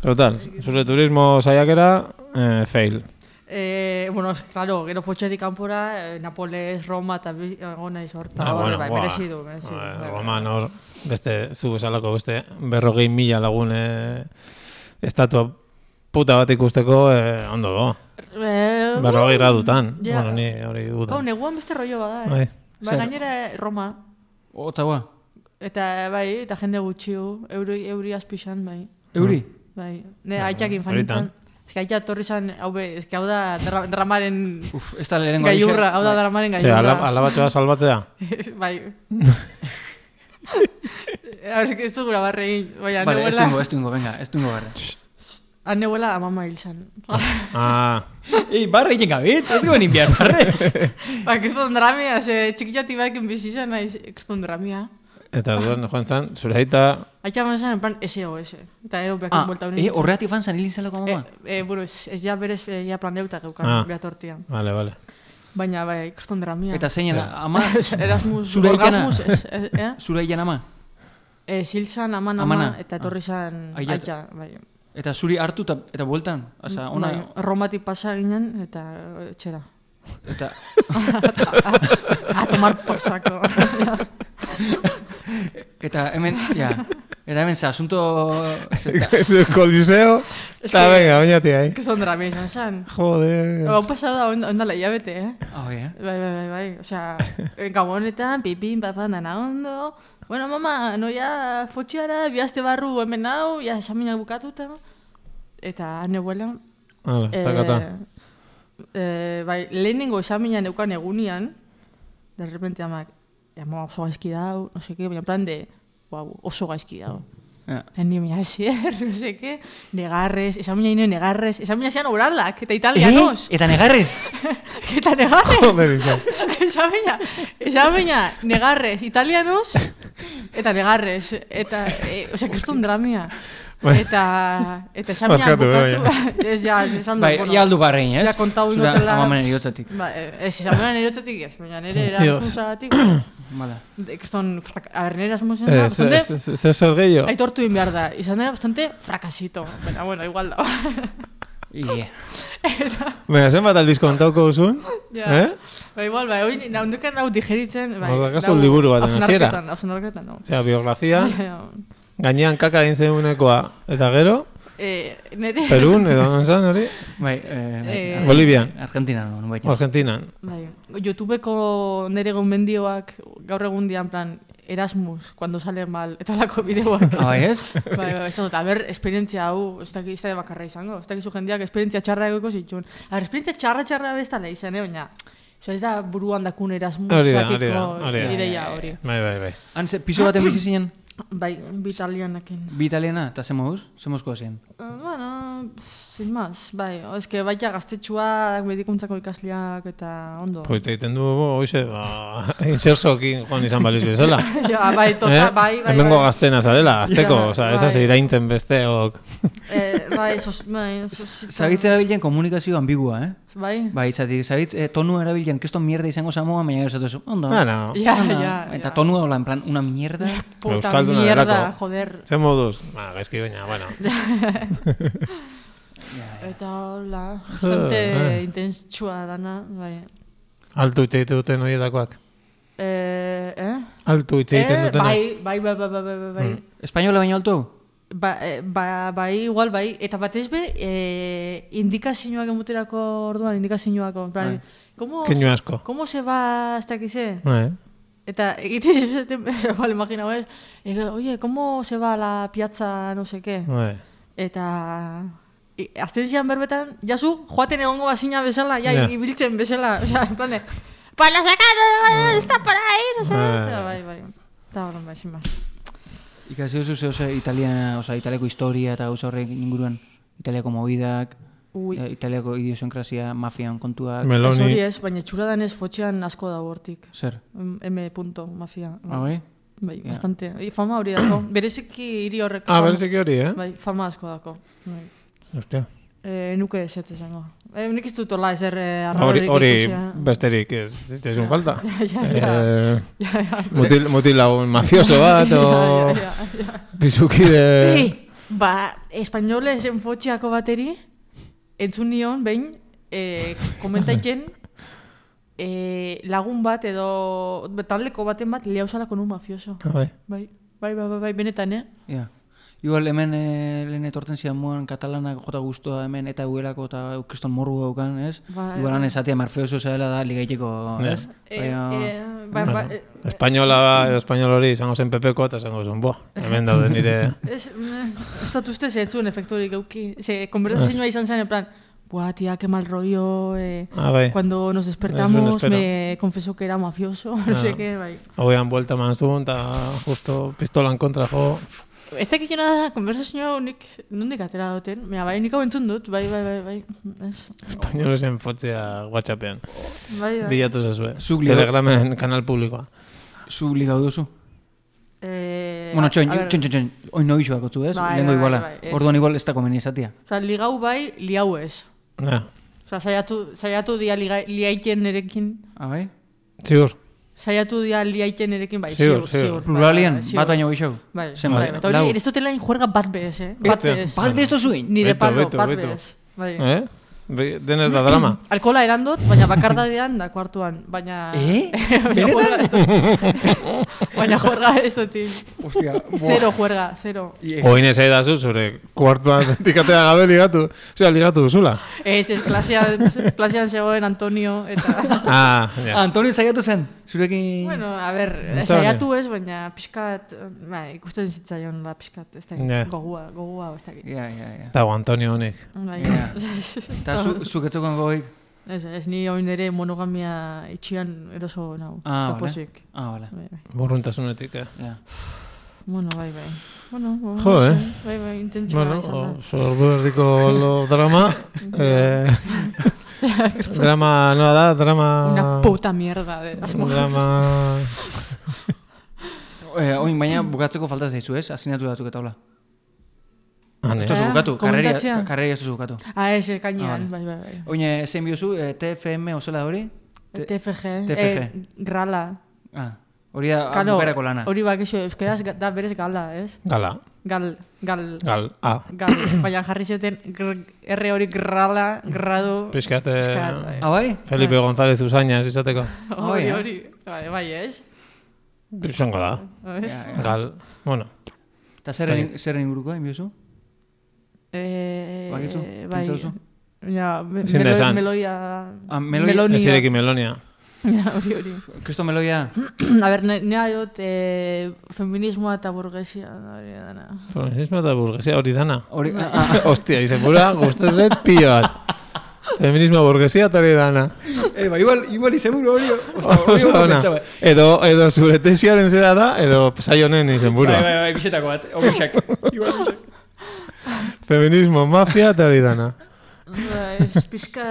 D: Total, zure turismo saiakera, eh, fail.
C: E, bueno, es- claro, gero fotxetik kanpora, e, Napoles, Roma eta bi- eh, egon naiz horta,
D: Ah,
C: hor,
D: bueno,
C: bai,
D: buah.
C: merezi du, merezi du.
D: Ah,
C: bai, bai.
D: Roman hor, beste, zu esalako beste, berrogei mila lagun eh, estatua puta bat ikusteko eh, ondo do.
C: Eh,
D: Berrogei gradutan.
C: Ja.
D: Bueno, ni hori
C: Gau,
D: gutan.
C: neguan beste rollo bada, eh?
D: Bai.
C: Ba,
E: Zer?
C: gainera Roma,
E: Otzagoa.
C: eta bai, eta jende gutxiu, euri, euri azpixan, bai.
E: Euri.
C: Bai, ne aitak
D: horitan.
C: infanintzan. Ez que aita torri zan, hau be, ez que hau da dra- dramaren
E: Uf, ez da lehenengo
C: gaiurra, hau da
E: bai.
C: dramaren
D: Ze, ala,
C: gaiurra.
D: alabatxoa salbatzea.
C: bai. Hau, ez que ez dugura barre egin, bai,
E: Vale, ez duengo,
C: aneuela,
E: ez duengo, venga, ez duengo barra.
C: aneuela amama hil zan.
D: Ah,
E: Ei, barra egin gabit, ez goen inbiar barra.
C: ba, kriston dramia, ze txikitati batekin bizi izan naiz, kriston dramia.
D: eta duen joan zan, zure aita,
C: Aita eman zan, en plan, SOS. Eta edo behakin
E: Ah,
C: buelta honen.
E: eh, horreatik fan zan hil izalako
C: Eh,
E: mama.
C: eh, bueno, ez, ez ja berez, eh, ja planeuta geukan,
D: Ah.
C: ah. behatortia.
D: vale, vale.
C: Baina, bai, kriston dramia.
E: Eta zein,
D: Ja.
E: ama,
C: Erasmus,
E: Zure aikana.
C: orgasmus, ez, ez, eh?
E: zure aian ama.
C: Ez hil zan, aman, ama,
E: Amana. Ah.
C: eta etorri zan
E: Aia-
C: aita. Bai.
E: Eta zuri hartu eta, eta bueltan. Osa, ona,
C: Bai, Romatik pasa ginen, eta eh, txera.
E: eta,
C: A tomar por saco.
E: eta hemen, ja, eta hemen ze asunto... ze-
D: Zure koliseo, eta
C: que-
D: venga, bainati ahi.
C: Kriston dramia izan zan.
D: Jode.
C: Hau pasada da, onda, onda bete, eh?
E: Ah, oi, eh?
C: Bai, bai, bai, bai. Osea, eh, gabonetan, pipin, papan, dana ondo. Bueno, mama, noia fotxiara, bihazte barru hemen hau, ja, esaminak bukatuta. Eta neuelan,
D: Hala, takata.
C: eh, bai, lehenengo examina neukan egunian, de repente amak, "Ja, ama oso gaizki dau, no seke, baina en plan de, wow, oso gaizki dau.
E: Ja.
C: Eta ni mira, zier, no seke, negarrez, examina ino negarrez, examina zean oralak, eta italianos,
E: Eta negarrez?
C: eta negarrez,
D: Joder, izan.
C: examina, examina, negarrez, italianos, eta negarrez, eta, e, osea, kriston dramia. Eta, eta examina
D: Barkatu, eh,
C: bukatu, ez ja, esan dut,
E: Bai,
C: bueno.
E: ja aldu barrein, ez?
C: Ja, kontau
E: Zure
C: inotela-
E: amamaren eriotatik.
C: Ba, eh, ez izan nire erotetik ez, baina nire
D: Dios.
C: erakunsagatik,
E: Vale.
C: ekston, a ber, nire asmuzen da,
D: Ez,
C: bastante,
D: ez, ez, ez, zer gehiago?
C: aitortu egin behar da, izan da bastante frakasito, baina, bueno, igual da. Oh.
E: Ie.
D: Baina, zenbat aldiz kontauko duzun?
C: Ja.
D: Eh?
C: Ba, igual, ba, oin, naundukan hau digeritzen, bai.
D: Hor dakazu liburu baten hasiera.
C: hasiera. Hausnarketan, no.
D: Osea, biografia,
C: Ja, ja.
D: gainean kaka egin zenuenekoa, eta gero,
C: Eh, nire...
D: Perun, edo non zan hori?
E: Bai, eh,
C: Eh,
E: Argen-
D: Bolivian.
E: Argentina non, bai.
D: Argentinan.
C: Bai, YouTubeko nire gomendioak gaur egun dian plan Erasmus, cuando sale mal, eta lako bideoak.
E: Ah, bai, ez?
C: Bai, bai, esan dut, a ber, esperientzia hau, ez dakit, ez da bakarra izango, ez dakizu jendeak esperientzia txarra egoiko zituen. A ber, esperientzia txarra txarra bestala izan, eh, baina, oso ez da buruan dakun erasmus,
D: Hori da,
C: zakiko
D: hori da, hori da.
C: ideia hori.
D: Bai, bai, bai.
E: Han, ze- piso baten bizi zinen,
C: Bai, bitalianakin.
E: bi italiana, eta ze moduz? Ze mozkoa ziren?
C: Eh, bueno, sin más, bai, eske baita gaztetxuak, medikuntzako ikasleak eta ondo.
D: Pues egiten du, hoxe, ba, insersokin joan izan baliz bezala.
C: Ja, bai, tota, bai, bai.
D: Eh? Hemengo
C: bai.
D: gaztena zarela, azteko,
C: Ja,
D: oza,
C: bai.
D: esaz iraintzen besteok.
C: Eh, bai, sos, bai, sos,
E: Zabitz erabilen komunikazio ambigua, eh?
C: Bai?
E: Bai, zati, zabitz, eh, tonua erabilen, keston mierda izango zamoa, baina gero zatu zu, ondo.
D: Bueno,
C: Ja,
E: ondo.
C: ja,
E: Eta
C: ja.
E: tonua, hola, en plan, una mierda.
C: Puta
D: Euskalduna
C: mierda,
D: delako.
C: joder.
D: zen moduz, ba, gaizki baina, bueno.
C: Eta hola, bastante
D: eh.
C: intentsua dana, bai.
D: Altu hitz egiten duten horietakoak.
C: Eh, eh?
D: Altu hitz egiten
C: eh,
D: dutena.
C: bai, bai, bai, bai, bai, bai, bai, bai.
E: Mm. Espainola baino altu?
C: Ba, eh, ba, bai, igual, bai. Eta batez be, eh, indikazioak emuterako orduan, indikazioak, en plan,
E: Bai.
C: ¿cómo,
D: Keinu asko.
C: ¿cómo se va hasta que se?
D: Eh,
C: Eta egiten zizuten, igual, imaginau ez, eh, oye, ¿cómo se va a la piazza, no sé qué?
D: eh.
C: Eta i- azten zian berbetan, jazu, joaten egongo bazina bezala, ja,
D: Ja.
C: ibiltzen bezala, osea, en plan de, para sacar, está por ahí, no sé,
D: Ah.
C: Eta bai, bai, eta horren bai, sin más.
E: Ikasi duzu ze, oza, italiana, oza, italiako historia eta gauza horrek inguruan. Italiako movidak,
C: Ui,
E: eh, italiako idiosinkrazia, mafian kontuak.
C: ez hori
D: Meloni,
C: ez, baina txura danez fotxean asko da hortik.
E: Zer?
C: Mm, M. punto, mafia.
E: Ah, bai?
C: Bai,
E: Ja.
C: bastante. I, fama hori dako. Bereziki hiri horrek.
D: ah,
C: fama-
D: bereziki hori, eh?
C: Bai, fama asko dako. Bai.
D: Hostia.
C: E, nuke ez ez esango. E, nik ez dut hola ezer eh,
D: Hori,
C: arrarorik
D: hori
C: ikusia.
D: besterik, ez zitzaizun falta.
C: Ja, ja, ja.
D: Eh,
C: Ja, ja.
D: mutil, mutil lagun mafioso bat,
C: Ja, ja,
D: o
C: ja, ja.
D: bizukide...
C: Bi! Ba, espainoles enfotxeako bateri, entzun nion, behin, e, komentaiten, e, lagun bat edo taldeko baten bat lehauzalako nu mafioso.
D: Ah, bai.
C: Bai, bai, bai, bai, bai benetan, eh?
E: Ja. Igual hemen e, lehen etorten zidan moan katalanak jota guztua hemen eta huelako eta kriston morru daukan, ez?
C: Bai.
E: Igual han esatea marfeoso zela da ligaiteko,
D: Ja.
E: ez?
C: E,
E: Baina-
C: e, ba, ba, e,
D: Espainola edo espainol hori izango zen pepeko eta izango zen, boa, hemen daude nire...
C: ez, mm, ez dut uste zetzuen efekturik euki. Ze, konversazioa izan zen, en plan, buah, tia, que mal rollo, eh,
D: Ah, bai.
C: cuando nos despertamos
D: espero. Ah.
C: me confesó que era mafioso, no sé qué, bai.
D: Hauean buelta eman zuen eta justo pistolan kontra jo.
C: Ez dakikena da, konversazioa honik nondik atera duten, baina bai, nik hau entzun dut, bai, bai, bai, bai, ez,
D: Espainolesen fotzea whatsappean.
C: bai, bai.
D: Bilatu zazue.
E: Zuk liga-
D: Telegramen kanal publikoa.
E: Zu ligau duzu?
C: Eh,
E: Bueno, txon,
C: a ver,
E: txon, txon, txon, oin noiz bakotzu, ez?
C: Bai,
E: Lehengo
C: bai,
E: iguala.
C: bai, bai, ez.
E: Orduan igual ez da komeni izatea.
C: Osa, ligau bai, liau ez.
D: Ja,
C: Osa, saiatu, saiatu dia liga, liaiken erekin,
E: Ah, bai?
D: ziur.
C: saiatu dia liaiken erekin, bai,
D: Ziur,
C: ziur,
D: ziur.
C: ziur. bai,
E: Pluralian,
C: bai, ziur.
E: bat baino gehiago.
C: Bai,
E: Zen
C: bai,
E: bat,
C: eta hori,
E: lau.
C: ez dutela injuerga bat bez, eh? Bat
D: Bestean,
C: bez.
E: Bat bestu zuin?
C: Nire
D: Beto,
C: palo,
D: beto,
C: bat
D: beto.
C: bez. Bai.
D: Eh? Be- Denez da drama.
C: Alkola erandot, baina bakardadean da kuartuan, baina...
E: Eh?
C: baina juerga ez dut. baina juerga ez dut.
E: Hostia,
C: Zero juerga, zero.
D: Oin ez da zu, zure kuartua tikatea gabe ligatu. Osea, ligatu duzula.
C: Ez, ez, Eh, klasean, klasean zegoen Antonio, eta...
D: Ah, ja.
E: Antonio zaiatu zen, zurekin...
C: bueno, a ber,
D: Antonio.
C: saiatu ez, baina pixkat, bai, ikusten zitzaion, ba, pixkat, ez da,
D: Ja.
C: gogua, gogua, ez dakit.
E: Ja, ja, ja.
D: Dago Antonio honek.
C: Bai,
E: Ja. Eta zu,
C: ez,
E: zuk etzukan gogoik?
C: ez, ni oin ere monogamia itxian eroso nau,
E: Ah,
C: eta
E: vale.
C: pozik.
E: Ah, vale.
C: Bai, bai.
D: Burruntasunetik, eh?
E: Ja.
C: Bueno, bai, bai. Bueno, bueno,
D: Jo, eh?
C: bai, bai, intentsua
D: Bueno,
C: izan da.
D: oso ordu erdiko lo drama. eh, drama, noa da, drama...
C: Una puta mierda de las mujeres.
D: Ah. Drama...
E: Eh, oin, baina
C: Mm.
E: bukatzeko falta zaizu, ez? Asinatu datuk eta hola.
D: Hane.
E: Ez duzu
C: Eh,
E: bukatu, karreria,
C: komentatzea?
E: karreria ez duzu bukatu.
C: Ah, ese cañón,
E: Ah,
C: bai, bai, bai.
E: Oin, eh, zein biozu, eh, TFM osela hori? Te-
C: TFG,
E: TFG.
C: eh, grala.
E: Ah, hori da
C: Kalo,
E: bukarako lana.
C: hori bakixo, euskeraz ga- da berez gala, ez?
D: Gala.
C: Gal, gal,
D: Gal. Ah.
C: gal. Baina jarri zioten gr- R hori grala, gradu.
D: Piskat, eh,
C: Piskat, bai.
E: Ah, bai?
D: Felipe González Usaña, ez izateko.
C: Hori,
E: Ah,
C: hori. Bai, bai, ez?
D: Bizango da.
C: Ez?
E: Ja, ja.
D: Gal. Bueno.
E: Eta zer zerren inguruko, hain biozu?
C: Eh,
E: Bakizu,
C: bai.
E: pentsauzu?
C: Ja, me-
D: Ezin da
C: melo-
D: esan.
C: meloia...
E: Ah, meloia-
D: Ez
C: melonia.
D: ireki melonia.
C: Ja, Hori, hori.
E: Kristo meloia,
C: A ber, ne- nea dut eh, feminismoa eta burgesia. Hori dana.
D: Feminismo eta burgesia hori dana.
E: hori...
C: Bai.
E: ah, ah,
D: Hostia, izenbura, guztazet pilo bat. Feminismo burgesia eta hori dana.
E: Eh, ba, igual, igual izemuro hori, osta, hori
D: Oso
E: ondo eh.
D: ona.
E: pentsaba.
D: Edo, edo zure tesiaren zera da, edo saionen
E: Bai,
D: izenbura.
E: bai, bai, bixetako bat, obixak. Igual, obixak.
D: Feminismo, mafia eta hori dana.
C: Ba, Ez pixka...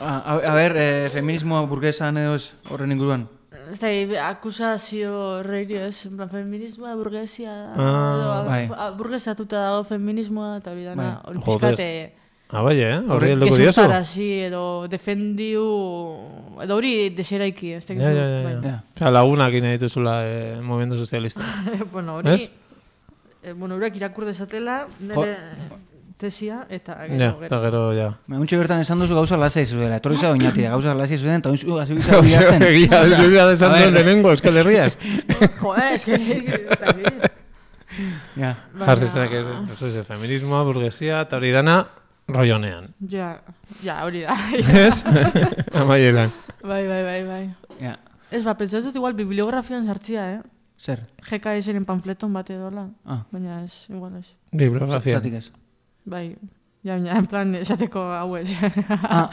E: Ah, a, a ber, eh, feminismoa burgesan edo ez, horren inguruan.
C: Ez da, eh, akusazio horreirio ez, en plan, feminismoa burgesia da,
D: Ah,
C: edo, a-
E: bai.
C: a- burgesatuta dago feminismoa, eta hori dana,
E: Bai.
C: hori
D: Joder,
C: pixkate,
D: Ah, bai, eh? Horri helduko diozu.
C: gezurtarazi, edo defendiu, edo hori deseraiki, ez Bai. da,
D: Ja, ja, ja. ja.
E: Ja.
D: Osea, lagunak ina dituzula eh, movimendu sozialista.
C: bueno,
D: Ez?
C: hori, eh, bueno, horiak irakur dezatela, nire tesia, eta
E: Ah,
D: Ja,
C: gero,
D: eta
C: gero.
D: gero, ja.
E: Me untxe bertan esan duzu gauza lasai zuela, etorri zara oinatira, gauza lasai zuela, eta oinzu gazi bizar
D: Osea,
E: bidazten.
D: egia, egia da esan
E: a
D: duen
E: ver.
D: lehenengo, Euskal Herriaz.
C: Joder, es que... ez dakit.
E: Ja.
D: Jarri zenak ez, eh? Eso es, feminismoa, burgesia, eta hori dana, roionean.
C: Ja, ja, hori da.
D: Ez? Amaielan.
C: bai, bai, bai, bai.
E: Ja.
C: Ez, ba, pentsatzen dut igual bibliografian sartzia, eh?
E: Zer?
C: GKS-ren panfleton bat edola,
E: Ah,
C: baina ez, igual ez.
D: Bibliografia.
E: zatik ez.
C: Bai, ja, baina, en plan, esateko hau ez.
E: Ah,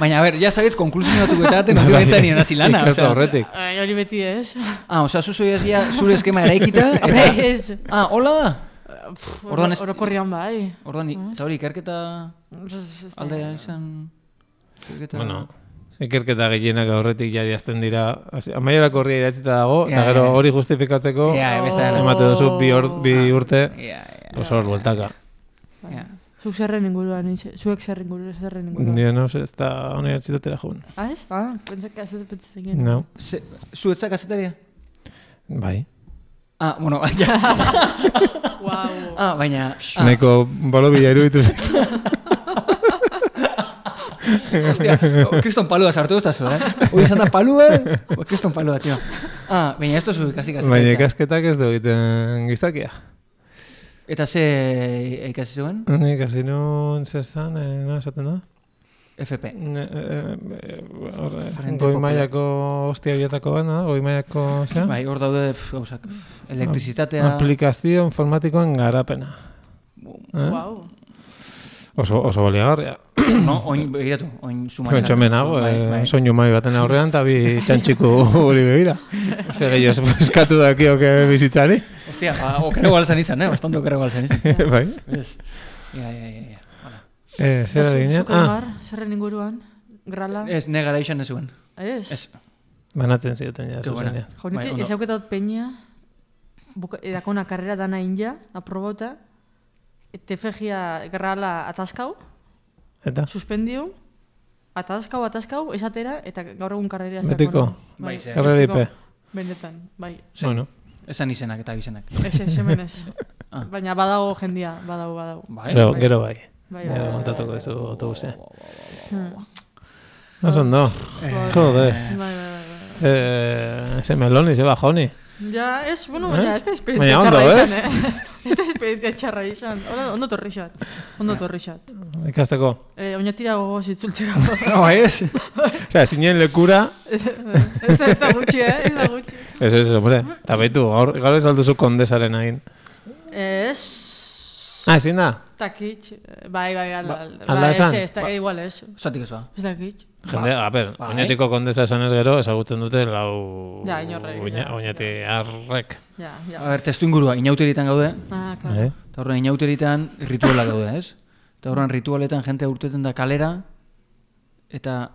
E: baina, a ber, ja sabetz, konklusio batzuk betaten, hori bentsa nien hasi lana.
D: Ikerta
E: osea.
D: horretik.
C: Ai, Bai, Hori beti ez.
E: Ah, osea, zuzu ez ja, zure eskema eraikita,
C: Hombre,
E: eta...
C: ez.
E: Ah, hola da!
C: Pff,
E: Orduan ez-
C: Orokorrian bai.
E: Orduan, i- eta hori ikerketa
C: Ez- ez-
E: alde izan... Ikerketa...
D: Bueno, ikerketa gehienak horretik ja diazten dira. Hasi- Amaierako horria idatzita dago,
E: Ja,
D: eta
E: ja,
D: gero
E: ja.
D: hori justifikatzeko,
E: Ja, beste dena. Oh.
D: emate duzu bi, or, bi urte,
E: Ja, ja,
D: pues hor, bueltaka.
E: ja.
C: Zuk zerren inguruan, nintxe- zuek zerren inguruan, zerren inguruan.
D: Nire nauz ez da unibertsitatera joan.
C: Ah, ez? Ah, pentsak ez dut pentsatzen ginen.
D: No,
E: Ze- Zuetzak kazetaria?
D: bai.
E: Ah, bueno, ja.
C: Wow.
E: Ah, baina...
D: Ah. Neko balobila iruditu zaizu.
E: Hostia, oh, kriston palua sartu ez da zu, eh? Hoi izan da palua, o kriston palua, tio. Ah, baina ez zu ikasi ikasi.
D: Baina ikasketak ez du egiten gizakia.
E: Eta ze ikasi zuen?
D: Nik hasi nun zezan, eh, nola esaten da?
E: FP.
D: Ne- eh, eh, horre,
E: Frente
D: Goi
E: Popular.
D: mailako hostia bietako bat, no? goi mailako zea?
E: Bai, hor daude pf, gauzak. pf, Elektrizitatea...
D: Ah, Aplikazio informatikoen garapena. Eh?
C: Wow.
D: Oso, oso baliagarria.
E: No, oin, behiratu, oin sumatzen.
D: Pentsa menago,
E: Bai,
D: eh,
E: bai.
D: soinu mai baten aurrean, eta bi txantxiku hori begira. Zer gehiago eskatu dakioke bizitzari.
E: Hostia, ba, okero balzan izan, eh? Bastante okero balzan izan.
D: bai.
E: Ez. Ja, ja, ja, ja. Hala.
D: Eh, zer ari ginen? Ah,
C: Ah. Zerren inguruan? Grala?
E: Ez, ne gara izan ez zuen.
C: Ez.
E: Ez.
D: banatzen zioten ja,
E: Ke buena.
D: zuzenean.
E: Bai,
C: Jaunik,
E: ondo.
C: ez hauketat peña, buka- edakona karrera dana inja, aprobota, tefegia grala ataskau,
D: Eta?
C: suspendiu, ataskau, ataskau, esatera, eta gaur egun karrera ez
D: Betiko.
C: dakona.
E: Bai, ze-
D: Karrera
C: betiko.
D: IP.
C: Benetan, bai.
E: Ze-
D: Bueno.
E: Esan izenak eta abizenak.
C: Ez, ez, hemen ez.
E: Ah.
C: Baina badago jendia, badago, badago.
E: Bai,
D: Gero, gero bai.
C: Bai,
D: Gero
C: bai,
D: kontatuko dizu autobusean.
C: Hmm.
D: Oso ondo. Joder.
C: Bai, bai, bai, bai.
D: Ze, ze meloni, ze bajoni.
C: Ja, ez, bueno,
D: Eh?
C: baina ez da esperientzia
D: Baina ondo,
C: txarra
D: eh?
C: izan, eh? Ez da esperientzia txarra izan. Hola, ondo torri xat. Ondo torri xat.
D: Ikasteko.
C: Eh, oinatira gogoz itzultzeko.
E: No, ez.
D: Osea, zinen lekura...
C: ez, ez da- ez da gutxi, eh? Ez da gutxi.
D: Ez, ez, hombre. Eta baitu, gaur, gaur ez alduzu kondesaren hain.
C: Ez...
D: Ah, ezin da?
C: Takitx. Bai, bai, ala. Ba,
D: ala
C: ez,
D: esan.
C: ez, da, igual ez.
E: Zatik ez ba.
C: Ez dakit.
D: Jende, a ber,
E: bai.
D: oinatiko kondesa esan ez gero, ezagutzen dute lau...
C: Ja, inorrek,
D: oina-
C: ja.
D: Oñati arrek.
C: Ja,
E: A
C: ja.
E: ber, testu ingurua, inauteritan gaude,
C: Ah,
D: Eh?
C: klaro.
E: eta horren inauteritan ritualak gaude, ez? Eta horren ritualetan jente urteten da kalera, eta,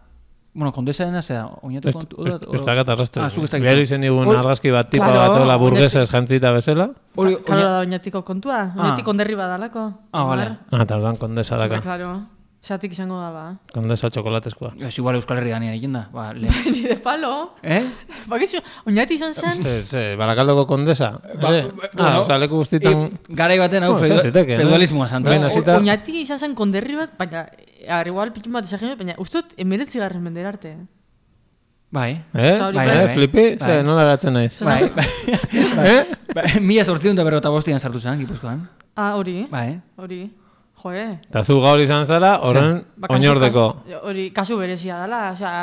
E: bueno, kondesaren zea, oinatu kontu...
D: Ez ez dakat arrastu.
E: Ah, zuk ez dakit.
D: Gero izen digun
E: Hol-
D: argazki bat tipa
C: Claro,
D: bat hola
C: oñati-
D: burgesa jantzita bezala.
E: Hori,
C: Ka- Claro, da oinatiko kontua. Oinatik onderri badalako.
E: Ah, vale.
D: Ah, eta orduan kondesa
C: Ba,
D: daka.
C: Claro. Zatik izango da, ba.
D: Kondesa txokolatezkoa.
E: Ez igual Euskal Herri ganean egin da, ba, le...
C: Nire palo.
E: Eh?
C: Bakizu, oinati izan zen.
D: Ze, ze, barakaldoko kondesa.
E: Ba,
D: ere? Ah, oza, leku guztietan...
E: Garai baten hau
D: Bueno,
E: feuda-
D: izan zitekeen, eh?
E: feudalismoa santa.
D: Baina
E: Hor-
D: zita-
C: Oñati izan zen konderri bat, baina, ar, igual pitxun bat esagen, baina, uste dut, emeretzi garren mendera arte. eh.
E: Bai.
D: Eh?
C: Zauri,
D: Bai,
E: bai,
D: eh,
E: bai.
D: flipi? Ze,
E: Bai.
D: nola gatzen naiz?
E: Bai, bai.
D: Eh?
E: Ba, Mila sortzion da berrota bostian sartu zen, Gipuzkoan.
C: Ah, hori,
E: Bai.
C: hori, joe.
D: Eta zu gaur izan zara, horren
C: Ba, kasu-
D: oinordeko.
C: ka- Hori, kasu berezia dela, osea,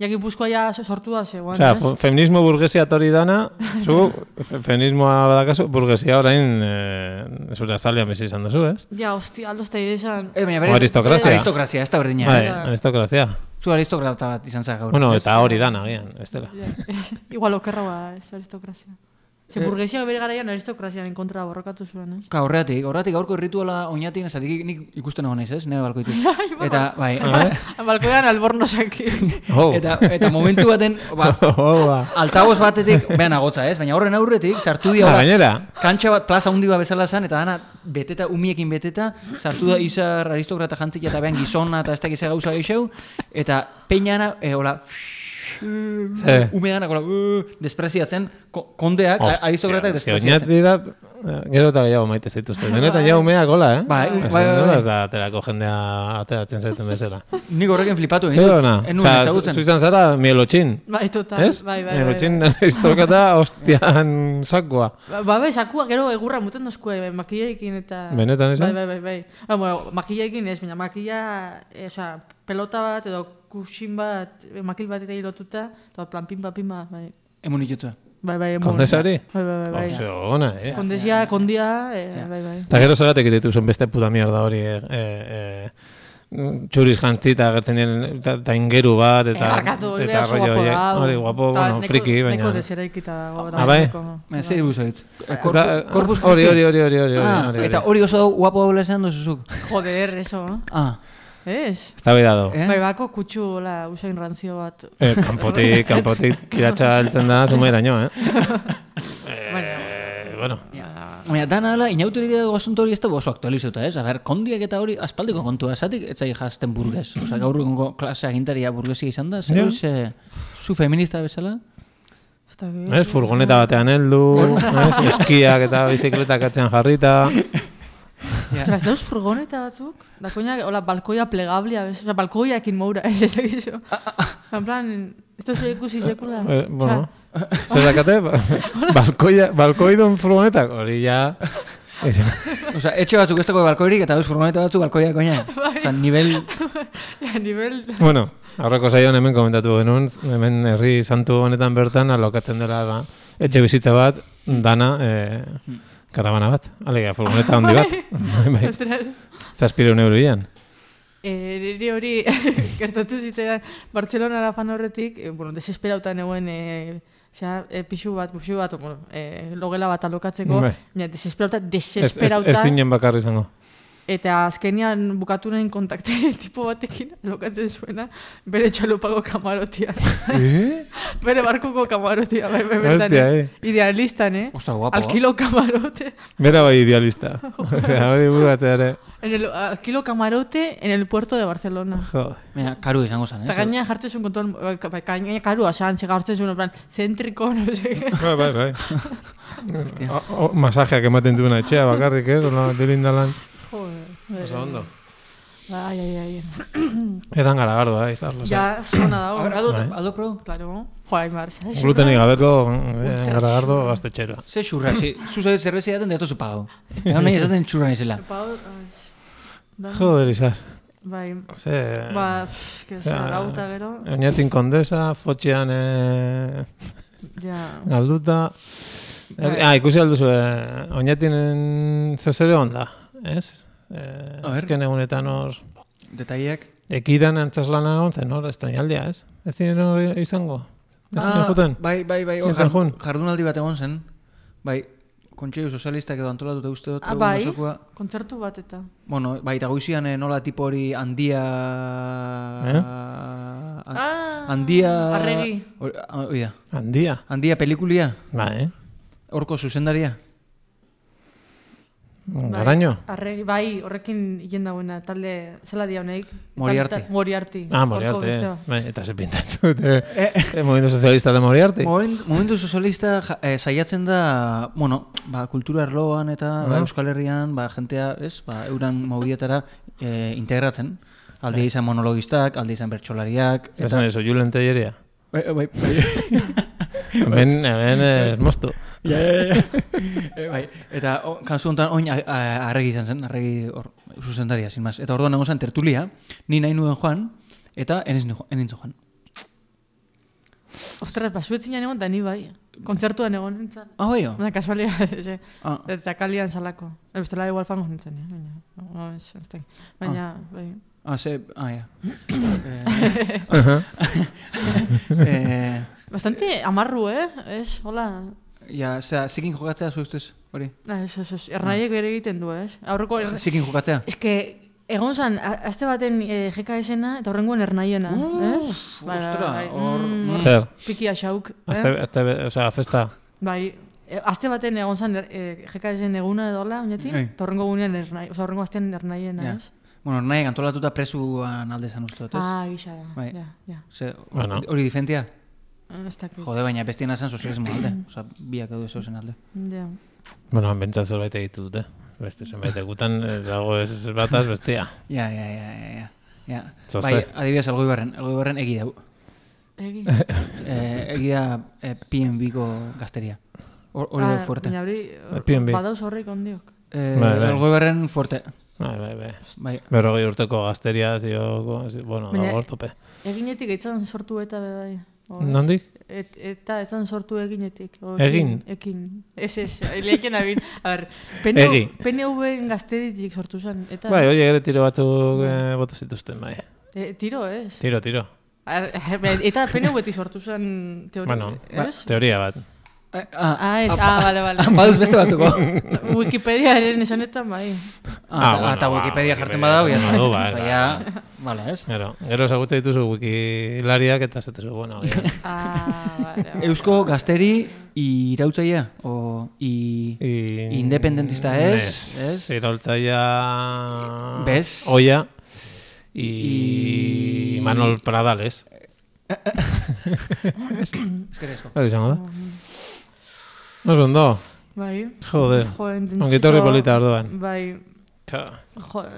C: jakipuzkoa ja sortu da zegoen,
D: Osea,
C: ez?
D: fe- feminismo burgesia tori dana, zu fe- feminismoa badakazu, burgesia orain eh, zure azalean bizi izan duzu, ez?
C: Ja, hostia, aldo ez da izan.
E: Eh, baina
D: O aristokrazia.
E: Aristokrazia, ez da berdina.
D: Bai,
E: ez?
D: aristokrazia.
E: Zu aristokrata bat izan zara gaur.
D: Bueno, eta hori dana, gian, bestela.
C: Ja, Igual okerragoa, ez aristokrazia. Ze burgesia bere garaian aristokraziaren kontra borrokatu zuen, ez?
E: Ka, horregatik, horregatik gaurko rituala oinatik, zatik nik ikusten egon naiz, ez? Nire balkoitik. eta, bai,
C: Balkoean albornozak.
D: Oh,
E: eta, eta momentu baten, ba,
D: oh, ba.
E: altaboz batetik, behan agotza, ez? Baina horren aurretik, sartu dira,
D: Ah,
E: ba,
D: gainera.
E: kantxa bat, plaza hundi bat bezala zen, eta dana, beteta, umiekin beteta, sartu da izar aristokrata jantzik eta behan gizona, eta ez da gizera gauza gixeu, eta peinana, e, hola,
D: Ze.
E: umeana, hola, uh, despreziatzen, ko- kondeak,
D: Eh. Hostia,
E: aristokratak
D: eske
E: despreziatzen.
D: Oñati da, eh, gero eta gehiago maite zituzten. Benetan ja umeak hola, eh?
E: Bai, bai, bai,
D: Nola
E: bai.
D: ez da aterako jendea ateratzen zaiten bezala.
E: Nik horrekin flipatu egin
D: Zer
E: dut.
D: dona?
E: Ez nuen
D: Osea,
E: ezagutzen.
D: zu izan zara mielotxin.
C: Bai, total,
D: Ez? Eh,
C: bai, bai, bai.
D: Mielotxin aristokrata hostian sakoa.
C: Ba, ba, bai, sakua gero egurra muten dozkue, bai, makillaekin eta...
D: Benetan esan?
C: Bai, bai, bai, bai. Ba, bueno, makillaekin ez, baina makilla, eh, osea, pelota bat edo kusin bat, eh, makil bat eta lotuta, eta plan pinba, pinba, bai.
E: Emun itxutzua.
C: Bai, bai, emon.
D: Kondesari?
C: Bai, bai, bai, bai.
D: Hauze, ona, eh?
C: Kondesia, kondia, eh, bai, bai.
D: Eta gero zeratek ditu zen beste puta mierda hori, eh, eh, eh, txuriz jantzita agertzen diren, eta eta ingeru bat,
C: Eta,
D: eta...
C: Errakatu, hori
D: eta
C: bai oso
D: rollo
C: guapo
D: horiek.
C: da. hau.
D: Hori guapo,
C: Eta
D: bueno,
C: neko-
D: friki,
C: Neko
D: baina...
C: deseraikita dago.
D: Ah, bai?
E: Baina, zer dibuzo hitz.
D: Eta,
E: Corpus
D: Eh, Ah, Hori, hori,
E: Christi.
D: hori, hori, hori,
E: Ah,
D: hori.
E: Eta hori oso guapo hau lezen duzuzuk.
C: Joder, er, eso.
E: Ah,
C: Ez?
D: Eta bera do.
E: eh?
C: Bai, bako kutsu, hola, usain rantzio bat.
D: Eh, kanpotik, kanpotik, kiratxa heltzen da, zumairaino, eh? eh bueno,
E: Baina, dana ala, inauteritea gozuntu hori ez da oso aktualizuta, ez? A ber, kondiak eta hori aspaldiko kontua, esatik ez zai jazten burgez. Osa, gaur egungo klase agintaria burgesia izan da, zer
D: Ja.
E: hori ze, zu feminista bezala?
C: Osta, be-
D: Ez, furgoneta batean heldu, ez, eskiak eta bizikletak atzean jarrita.
C: Ostras, dauz furgoneta batzuk, da koña, hola, balkoia plegablia, bez, oza, balkoiakin moura, ez ez egizu. En plan, ez dauz ikusi sekula.
D: Eh, bueno, zer dakate, balkoia, balkoidun furgonetak, hori ja... Ez,
E: Osa, etxe batzuk ez dago balkoirik eta dauz furgoneta batzuk balkoiak oinan.
D: Bai.
E: Osa, nivel...
C: Ja, nivel...
D: bueno, aurreko saioan hemen komentatu genuen, hemen herri santu honetan bertan alokatzen dela ba, etxe bizitza bat, dana, eh, karabana bat, alega, furgoneta handi bat, bai, bai,
C: Ostras,
D: zazpireun euro ian.
C: Eh, niri hori gertatu zitzaidan Bartzelonara fan horretik, eh, bueno, desesperauta neuen eh, xa, eh, pixu bat, pixu bat, bueno, eh, logela bat alokatzeko,
D: Bai.
C: baina desesperauta,
D: Ez, ez,
C: desesperauta,
D: ez zinen bakar izango.
C: eta azkenian bukatu nahin kontakte tipo batekin alokatzen zuena, bere txalupako kamarotia,
D: Eh?
C: bere barkuko kamarotia, bai, bai, bertan,
D: Hostia,
C: eh.
D: eh.
C: idealistan, eh?
E: Osta, guapo.
C: Al kilo camarote,
D: Bera bai idealista. Osea, hori bukatzea ere.
C: en el, al kilo camarote en el puerto de Barcelona.
D: Jode.
E: Mira, karu izango zen,
C: Eta
E: eh?
C: gaina jartzen zuen kontuan, eh, ka- bai, gaina karua zan, ze jartzen zuen, en plan, zentriko, no sé.
D: Bai, bai, bai. O- o- Masajeak ematen duena etxea bakarrik, ez? Ola, dilindalan.
C: Joder. bere.
D: ondo.
C: Ai, ai, ai.
D: Edan gara gardoa, ez eh, da, ja.
C: Ja, zona
E: A ber,
C: dago.
E: aldo, aldo pro?
C: Claro. Joder, Aimar, zara zurra.
D: Glutenik gabeko mm, eh, gara gardo gaztetxero.
E: Ze xurra, si, zuze zerbezi daten datu zupagau. Eta nahi esaten xurra nizela.
C: Pau, ai, da.
D: Joder, izar.
C: Bai,
D: Ze...
C: ba, pff, que zara lauta gero.
D: Oñatin kondesa, fotxean eh,
C: Ja,
D: galduta.
C: Bai.
D: Ah, ikusi alduzu, eh, oñatinen zezere onda, ez? Eh,
E: A ber.
D: azken egunetan hor...
E: Detaileak.
D: Ekidan antzaslana egon zen, hor, estreinaldia, ez? Ez diren hor izango? Ez
C: Ah.
D: diren juten?
E: Bai, bai, bai, hor
D: Zertan
E: jar-
D: joan?
E: jardunaldi bat egon zen. Bai, kontxeio sozialistak edo antolatuta uste dut.
C: Ah,
E: egun
C: bai?
E: osokoa.
C: kontzertu bat eta.
E: Bueno, bai, eta goizian eh, nola tipo hori handia...
D: Eh?
E: An-
C: Ah,
E: handia...
C: Arregi.
E: Hor- ah, hori da.
D: Handia.
E: Handia pelikulia,
D: Bai, eh?
E: horko zuzendaria.
C: Bai.
D: Garaño?
C: Arregi, bai, horrekin hien dagoena, talde, zela dia honeik?
E: Moriarty.
C: Tal- tal- Moriarty.
D: Ah,
C: Horko
D: Moriarte.
C: beste
D: eh.
C: bat.
D: Bai, eta ze pintatzen dute eh, Movimendu Sozialista de Moriarte.
E: Momen- Momentu sozialista ja- eh, saiatzen da, bueno, ba, kultura arloan
D: Ah.
E: eta ba, Euskal Herrian, ba, jentea, ez, ba, euran mobietara eh, integratzen. Aldi izan monologistak, aldi izan bertsolariak,
D: Eh. Zer zan eso, Julen Telleria.
E: Bai, bai, bai,
D: Hemen, hemen, eh, moztu.
E: Ja, ja, ja. Eh, bai. Eta o, kasu honetan, oin a- a- arregi izan zen, arregi hor, zuzendaria, sin más. Eta orduan egon zen tertulia, ni nahi nuen joan, eta eniz nuen jo- ez nintzen joan.
C: Ostras, basuetzin egon, da ni bai. Kontzertuan egon nintzen.
E: Ah, bai, jo?
C: Una casualidad, ze.
E: Ah.
C: Eta kalian salako. Bestela igual fango nintzen, eh? baina, no, ez, ez dakit. baina, bai.
E: Ah, ze, ah, ja. eh,
C: Bastante amarru, eh? Ez, hola. Ah,
E: eh, ja, zera, zikin jokatzea zu ustez, hori?
C: Na, ez, ez, ez,
E: Ah.
C: ernaiek bere egiten du, ez? Aurreko, er...
E: Zikin jokatzea?
C: ez que, egon zan, a- aste baten eh, GKS-ena eta horrengoen ernaiena, ez? Bai,
E: Uf, ostra, hor- mm.
D: Zer,
C: Piki xauk,
D: azte,
C: eh?
D: azte, o sea, festa.
C: Bai, e, aste baten egon zan er, eh, GKS-en eguna edo hola, oinetik?
E: Ei.
C: Eta horrengo gunean ernai, oza, horrengo astean ernaiena,
E: Ja.
C: ez?
E: Bueno, nahi antolatuta presuan alde zan uste dut, ez?
C: Ah, gisa da,
E: Bai.
C: ja, ja.
E: Ze,
D: Bueno.
E: hori difentia?
C: Ez dakit.
E: Jode, baina bestiena zen sozialismo alde. Osa, biak edo zozen alde.
C: Ja.
D: Bueno, han bentsan zerbait egitu dute. Beste zenbait egutan, ez dago ez ez bataz bestia.
E: Ja, ja, ja, ja, ja. ja.
D: Zoze.
E: Bai, adibidez, algo ibarren, algo ibarren egi dau.
C: Egin.
E: Eh, egi da eh, PNB-ko gazteria. Hor- Hori da fuerte.
C: Ah, Baina hori,
D: PNB.
C: badauz horrek ondiok.
E: Eh,
D: Bai, bai.
E: Algo ibarren fuerte.
D: Bai, bai, bai.
E: Bai,
D: Berrogei urteko gazteria, zio, zi- bueno,
C: Baina-
D: dago hor tope.
C: Eginetik etzan sortu eta be bai. Hor.
D: Nondik?
C: Et, eta etzan sortu eginetik. O,
D: Egin?
C: Ekin. Ez ez, leheken abin. A ber, PNV,
D: Egi.
C: PNV gazteritik sortu zen. Eta,
D: Bai, oie gero tiro batzuk eh, bota zituzten, bai.
C: E, tiro ez.
D: Tiro, tiro.
C: Ar, bai, eta PNV ti sortu zen teoria.
D: Bueno, ba,
C: ez?
D: teoria bat.
E: Eh, ah,
C: Ah, ez, ah, bale, bale.
E: baduz beste batzuko.
C: Wikipediaren esanetan bai.
E: Ah,
D: bueno,
E: eta
D: ba,
E: Wikipedia
D: Wikipedia
E: jartzen badau,
D: jartzen
E: jazta.
D: badu, bai,
E: Osea, ja, bale, ez?
D: Gero, gero esagutza dituzu wikilariak eta zetezu, bueno, agian.
C: Ah, bale, bale.
E: Eusko gazteri irautzaia, o i...
D: I-
E: Independentista ez, ez?
D: Iraultzaia...
E: Bez?
D: Oia. I...
E: I-
D: Manol Pradales.
E: Eskerrik asko.
D: Hori izango da. No ondo.
C: Bai.
D: Jode.
C: Jo,
D: Ongi etorri polita orduan.
C: Bai. Jo,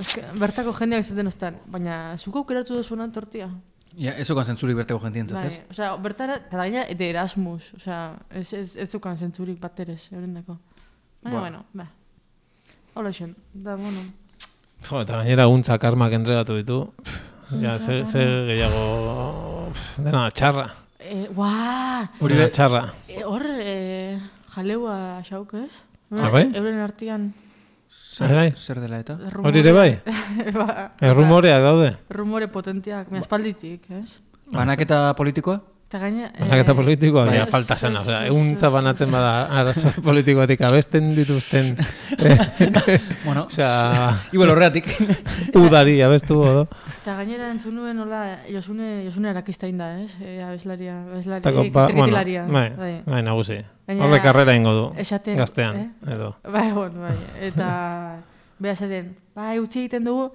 C: eske, bertako jendeak izaten ostan, baina zuko aukeratu duzunan tortilla.
E: Ja, ez okan zentzurik berteko jentientzat,
C: Bai,
E: ez?
C: osea, bertara, eta gaina, de Erasmus, osea, ez, ez, ez zukan zentzurik bat erez, eurendako. Baina,
E: Ba.
C: bueno, ba. Hola xen, da, bueno.
D: Jo, eta gainera guntza karmak entregatu ditu. Pff, Ja, ze, ze gehiago... pff, Dena txarra.
C: E, ua,
D: Hori da txarra.
C: e, hor, e, jaleua xauk, ez?
D: Ah, bai?
C: Euren artian,
D: Bai, bai.
E: Zer dela eta?
C: rumore,
D: Hori ere bai? E,
C: ba,
D: Errumoreak daude.
C: rumore potentiak, ba. espalditik, ez?
D: Bai.
E: Banaketa politikoa?
C: Eta gaina... eh,
D: Banaketa politikoa,
C: bai,
D: baina falta zena.
C: ez,
D: Osea,
C: ez,
D: eguntza
C: ez,
D: banatzen bada arazo politikoatik abesten dituzten.
E: Bueno,
D: Osea,
E: igual horretik.
D: udari abestu godo.
C: Eta gainera entzun nuen nola Josune, Josune erakista inda, ez? E, abeslaria, abeslaria,
D: Tako, ba, bueno,
C: kriketilaria.
D: bai,
C: bai.
D: bai, nagusi.
C: Gainera,
D: Horre karrera ingo du,
C: esaten,
D: gaztean,
C: eh?
D: edo.
C: Bai, bon, bai. Eta... Beha esaten, bai, utzi egiten dugu,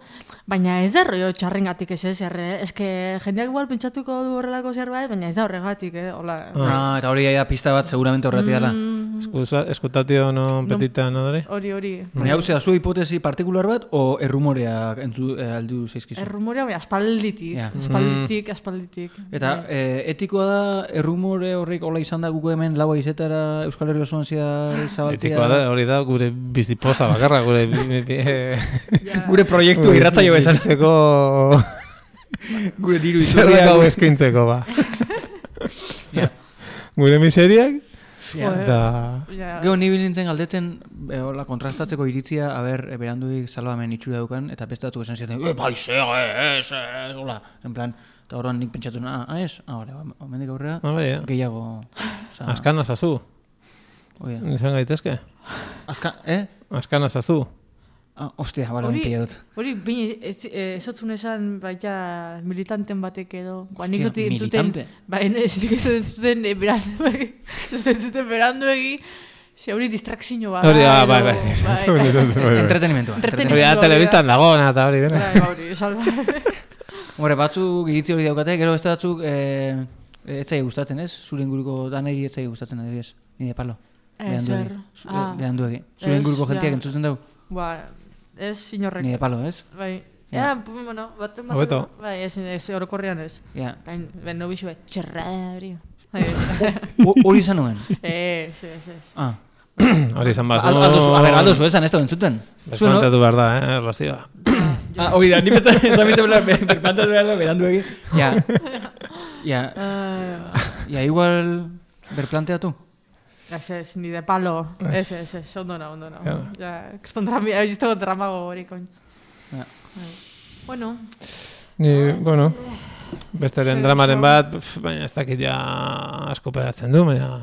C: baina ez da rollo txarrengatik ez ez, erre, eske jendeak igual pentsatuko du horrelako zerbait, baina ez da horregatik, eh, hola.
E: Ah, eta hori ja pista bat seguramente horretik dela.
D: Escusa- Eskutatio non petita non dore?
C: Hori, hori.
D: Mm.
E: Baina hau zera, zu hipotesi partikular bat, o errumoreak entzu, eh, aldu zaizkizu?
C: Errumorea, baina bai, aspalditik,
E: Ja.
C: aspalditik, aspalditik.
E: Eta
C: Bai.
E: eh, etikoa da, errumore horrek hola izan da guko hemen lau aizetara Euskal Herri osoan zehar zabaltzea.
D: Etikoa da, hori da gure bizipoza bakarra, gure... bi- bi- bi- eh,
E: Gure proiektu irratzaio bezala.
D: bizitzeko
E: Gure diru
D: Zerbait
E: iturria.
D: hau
E: gure-
D: eskaintzeko, ba.
E: Ja.
D: Gure miseriak,
E: Ja.
C: Joder.
D: eta...
C: Ja.
E: Gero ni bilintzen galdetzen, eh, hola, kontrastatzeko iritzia, aber, eh, beranduik salbamen itxura daukan, eta beste batzuk esan zieten, e, bai, ze, eh, ez, ez, hola, en plan, eta orduan nik pentsatu, ah, ah, ez, ah, hola, omendik aurrera,
D: Ah, bai, eh.
E: gehiago, oza,
D: Askan azazu,
E: oia,
D: izan gaitezke.
E: azka, eh?
D: Askan azazu.
E: Ah, ostia, bale,
C: Hori,
E: hori pila dut.
C: hori, bine, ez, eh, ezotzun esan, baita militanten batek edo. Ba, nik
E: Hostia,
C: zut entzuten,
E: militante.
C: ba, ene, ez nik ez dut entzuten eh, beranduegi, ez dut entzuten beranduegi, ze hori distrakzio bat.
D: Hori, ah,
C: edo-
D: bai, bai, ezazu, ezazu, bai, bai.
E: Entretenimentua.
C: Entretenimentua.
D: Hori da, telebistan dagoena eta hori dena.
C: Bai, ba, hori, salba.
E: Hore, batzuk iritzi hori daukate, gero beste batzuk, eh, ez zai gustatzen, ez? Zure inguruko daneri ez zai gustatzen, adibidez, nire palo.
C: Eh,
E: Beranduegi.
C: zer?
E: Zu-
C: Ah.
E: Beranduegi. Zure
C: Ez,
E: inguruko
C: ja.
E: jentiak entzuten dugu,
C: ba, ez inorrek.
E: nire palo, ez?
C: Bai.
E: Ja.
C: Ja, pu- bueno, baten bat.
D: Hobeto.
C: Bai, ez, ez, orokorrean ez.
E: Ja.
C: Gain, ben, no bizu, bai, txerra, hori. Bai,
E: Ho- Hori izan nuen.
C: Ez, ez, ez.
E: Ah.
D: Hori izan bazu.
E: Al, aldozu, a ber, aldozu, esan ez da entzuten.
D: Berpantatu behar da, eh, erlazioa.
E: Ah, hori da, ni pentsa, esan bizu bela, berpantatu behar da, berandu egin. Ja, ja,
C: Ah,
E: ja, igual, berplanteatu.
C: Ez, ez, ni de palo. Ez, ez, ez, ondo nao, ondo nao.
D: Claro.
C: Ja, kriston drama, hau iztego dramago hori, koin.
E: Ja.
C: Bai. Bueno,
D: Ni, bueno, besteren
C: Zer
D: dramaren
C: esan?
D: bat, pf, baina ez dakit ja asko pegatzen du, baina...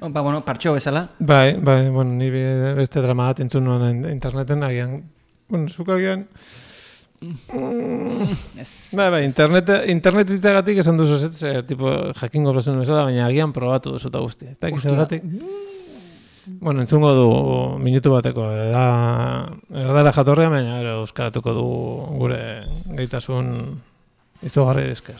E: Oh, Ba, bueno, partxo bezala.
D: Bai, bai, bueno, ni be- beste drama bat entzun nuen in- interneten, agian, bueno, zuk agian...
E: Ez.
D: Bai, bai, internet, internet itzagatik esan duzu zetz, eh, tipo, jakingo plazun bezala, baina agian probatu duzu eta guzti. Ez dakit
E: Ostia.
D: zergatik. Bueno, entzungo du minutu bateko, da, erdara jatorrea, baina gero euskaratuko du gure gaitasun izugarri esker.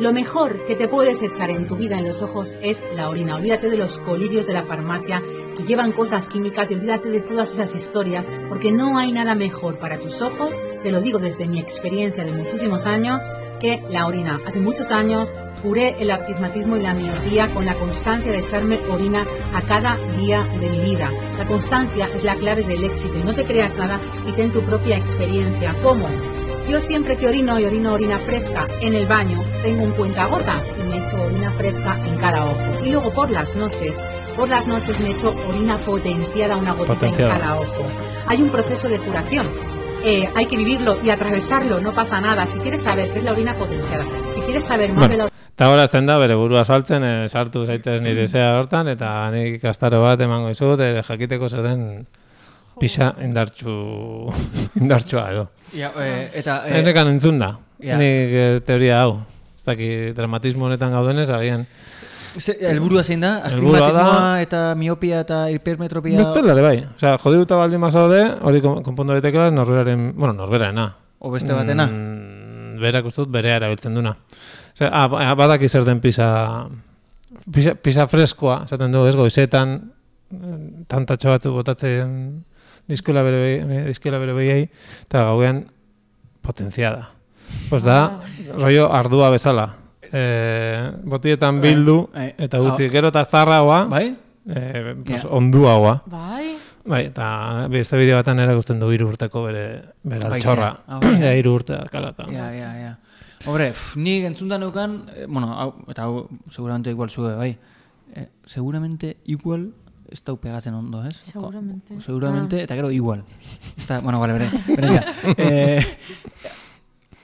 F: Lo mejor que te puedes echar en tu vida en los ojos es la orina. Olvídate de los colirios de la farmacia que llevan cosas químicas y olvídate de todas esas historias porque no hay nada mejor para tus ojos, te lo digo desde mi experiencia de muchísimos años, que la orina. Hace muchos años curé el astigmatismo y la miopía con la constancia de echarme orina a cada día de mi vida. La constancia es la clave del éxito y no te creas nada y ten tu propia experiencia. ¿Cómo? Yo siempre que orino y orino orina fresca en el baño, tengo un cuentagotas y me echo orina fresca en cada ojo. Y luego por las noches, por las noches me echo orina potenciada, una gotita
D: Potenciada.
F: en cada ojo. Hay un proceso de curación. Eh, hay que vivirlo y atravesarlo, no pasa nada. Si quieres saber qué es la orina potenciada, si quieres saber más de la
D: Bueno, eta ahora azten da, bere burua saltzen, eh, sartu zaitez nire zea hortan, eta nik kastaro bat emango izut, eh, jakiteko zer den pixa indartxu, indartxua edo.
E: Ja, eh, eta,
D: Eh,
E: eh,
D: Enekan entzun da,
E: Ja.
D: nik eh, teoria hau. Ez daki, dramatismo honetan gaudenez, agian.
E: ze- helburua zein da?
D: eh, Helburua da-
E: Astigmatismoa eta miopia eta hipermetropia.
D: Bestela ere bai. Osea, jodiduta baldin bazaude, hori kon- konpondu daitekeela norberaren, bueno, norberarena.
E: O beste batena.
D: Mm, berak ustut berea erabiltzen duna. Zer, ah, ba- ah, badaki zer den pisa, pisa, pisa freskoa, esaten du, ez goizetan, eh, tantatxo batzu botatzen diskula bere, behi- eh, dizkiola bere behiei, eta gauean potentziada. Pues da,
E: Ah.
D: rollo ardua bezala. Eh, botietan bildu,
E: Eh, eh,
D: eta gutxi, gero eta zarragoa,
E: Bai?
D: eh, pues,
E: Ja.
D: onduagoa.
C: Bai,
D: Bai, eta beste bideo batan erakusten du hiru urteko bere, bere
E: Apaizea.
D: altxorra.
E: Ah, bai.
D: Ja, hiru urte dakala eta.
E: Ja, ja, ja. Hombre, pff, nik entzuntan neukan, eh, bueno, hau, eta hau, seguramente igual zue, bai. Eh, seguramente igual ez dau pegatzen ondo, ez? Ko-
C: Seguramente.
E: seguramente, eta gero igual. Ez da, bueno, bale, bere, bere, ja. eh,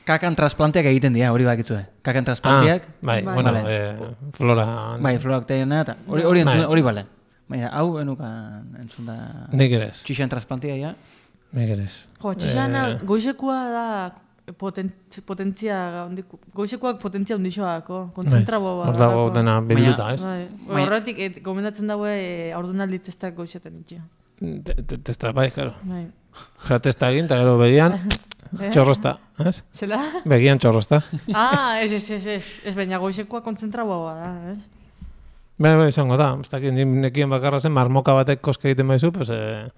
E: kakan trasplanteak egiten dira, hori bakitzue. Kakan
D: Ah,
E: trasplanteak,
D: bai,
C: Bai.
D: bueno,
E: Vale.
D: eh, flora...
E: bai, florak teiena, eta hori, hori, entzun,
D: Bai.
E: hori bale. Baina, hau enukan entzun da...
D: Nik ere ez,
E: Txixan trasplantea, ja.
D: nik ere ez.
C: jo, txixana, goizekoa da potent, potentzia handiko, goizekoak potentzia oh, handixoako, kontzentraboa
D: Bai. Hor dago dena bilduta,
E: Baina-
D: ez?
C: Bai,
E: Baina-
C: horretik et, gomendatzen daue e, aurdunaldi testak goizetan itxia.
D: Te- te- Testa, bai, karo.
C: Bai.
D: Osa, testa egin, eta gero begian,
C: Eh?
D: txorrosta, ez?
C: Zela?
D: Begian txorrosta.
C: ah, ez, ez, ez, ez, ez, baina goizekoa kontzentraboa da, ez?
D: Bai, bai, izango da. Ez dakit, nik nekien bakarra zen, marmoka batek koske egiten baizu, pues, eh,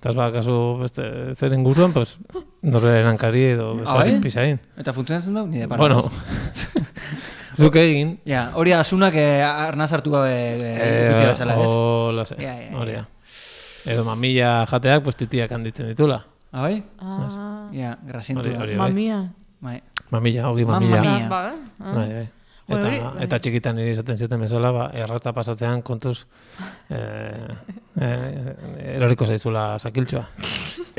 D: Eta ez bakazu beste, zer inguruan, pues, norreren hankari edo bezari
E: bai?
D: pisain.
E: Eta funtzionatzen da, nire parra.
D: Bueno, zuk egin,
E: Ja, hori asunak eh, arnaz hartu gabe eh, utzi bezala, ez?
D: Hola, ze,
E: Ja, ja, ja.
D: hori da. Edo mamila jateak, pues titiak handitzen ditula.
E: Ah, bai?
C: Ah,
E: Ja, grasientu.
D: Hori- hori.
C: mamia.
E: Bai.
D: Mamila, hogi
E: Mamma
D: mamila.
E: mia.
C: Ah, Ba, eh? Ah.
D: Bai, bai.
C: Bai,
D: Eta,
C: hori, bai.
D: eta txikitan nire izaten zieten bezala, ba, errata pasatzean kontuz eh, eh, eroriko zaizula sakiltxoa.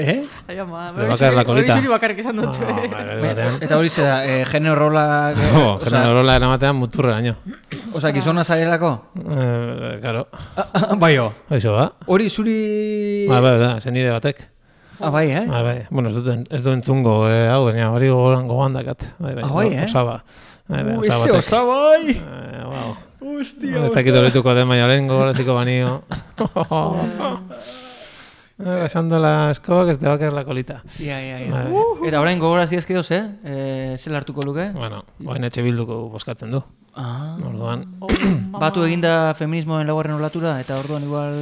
E: Eh?
C: Ai, ama,
D: Ez da bakarra la kolita.
C: bai. Hori zuri bakarrik esan dut.
D: Ah, bai, bai, batean.
E: Eta hori zera, eh, genero rola...
D: Jo, genero rola eramatean muturreraino.
E: Osa, gizona zarelako?
D: Eh, Karo,
E: bai, ho.
D: hoizo ba.
E: Hori zuri...
D: Ba, ba, da, zenide batek.
E: Ah, bai, eh?
D: Bai, bai. Bueno, ez duen, ez duen zungo, eh, hau, baina hori gogoan gogoan dakat. Bai, bai,
E: Ah, bai, eh?
D: Osaba. Bai, bai,
E: Uh,
D: osaba
E: ese
D: batek.
E: osabai!
D: Eh, wow.
E: Hostia,
D: Ez dakit horretuko den baina lehen gogoratziko banio. Eh, Besando la escoba que se te va a caer la colita.
E: Ja, ja, ja.
D: Bai.
E: Eta orain gogoraz diazkeoz, eh? eh? Zel hartuko luke?
D: Bueno, oain etxe bilduko boskatzen du.
E: Ah.
D: Orduan,
E: Batu eginda feminismoen laugarren olatura, eta orduan igual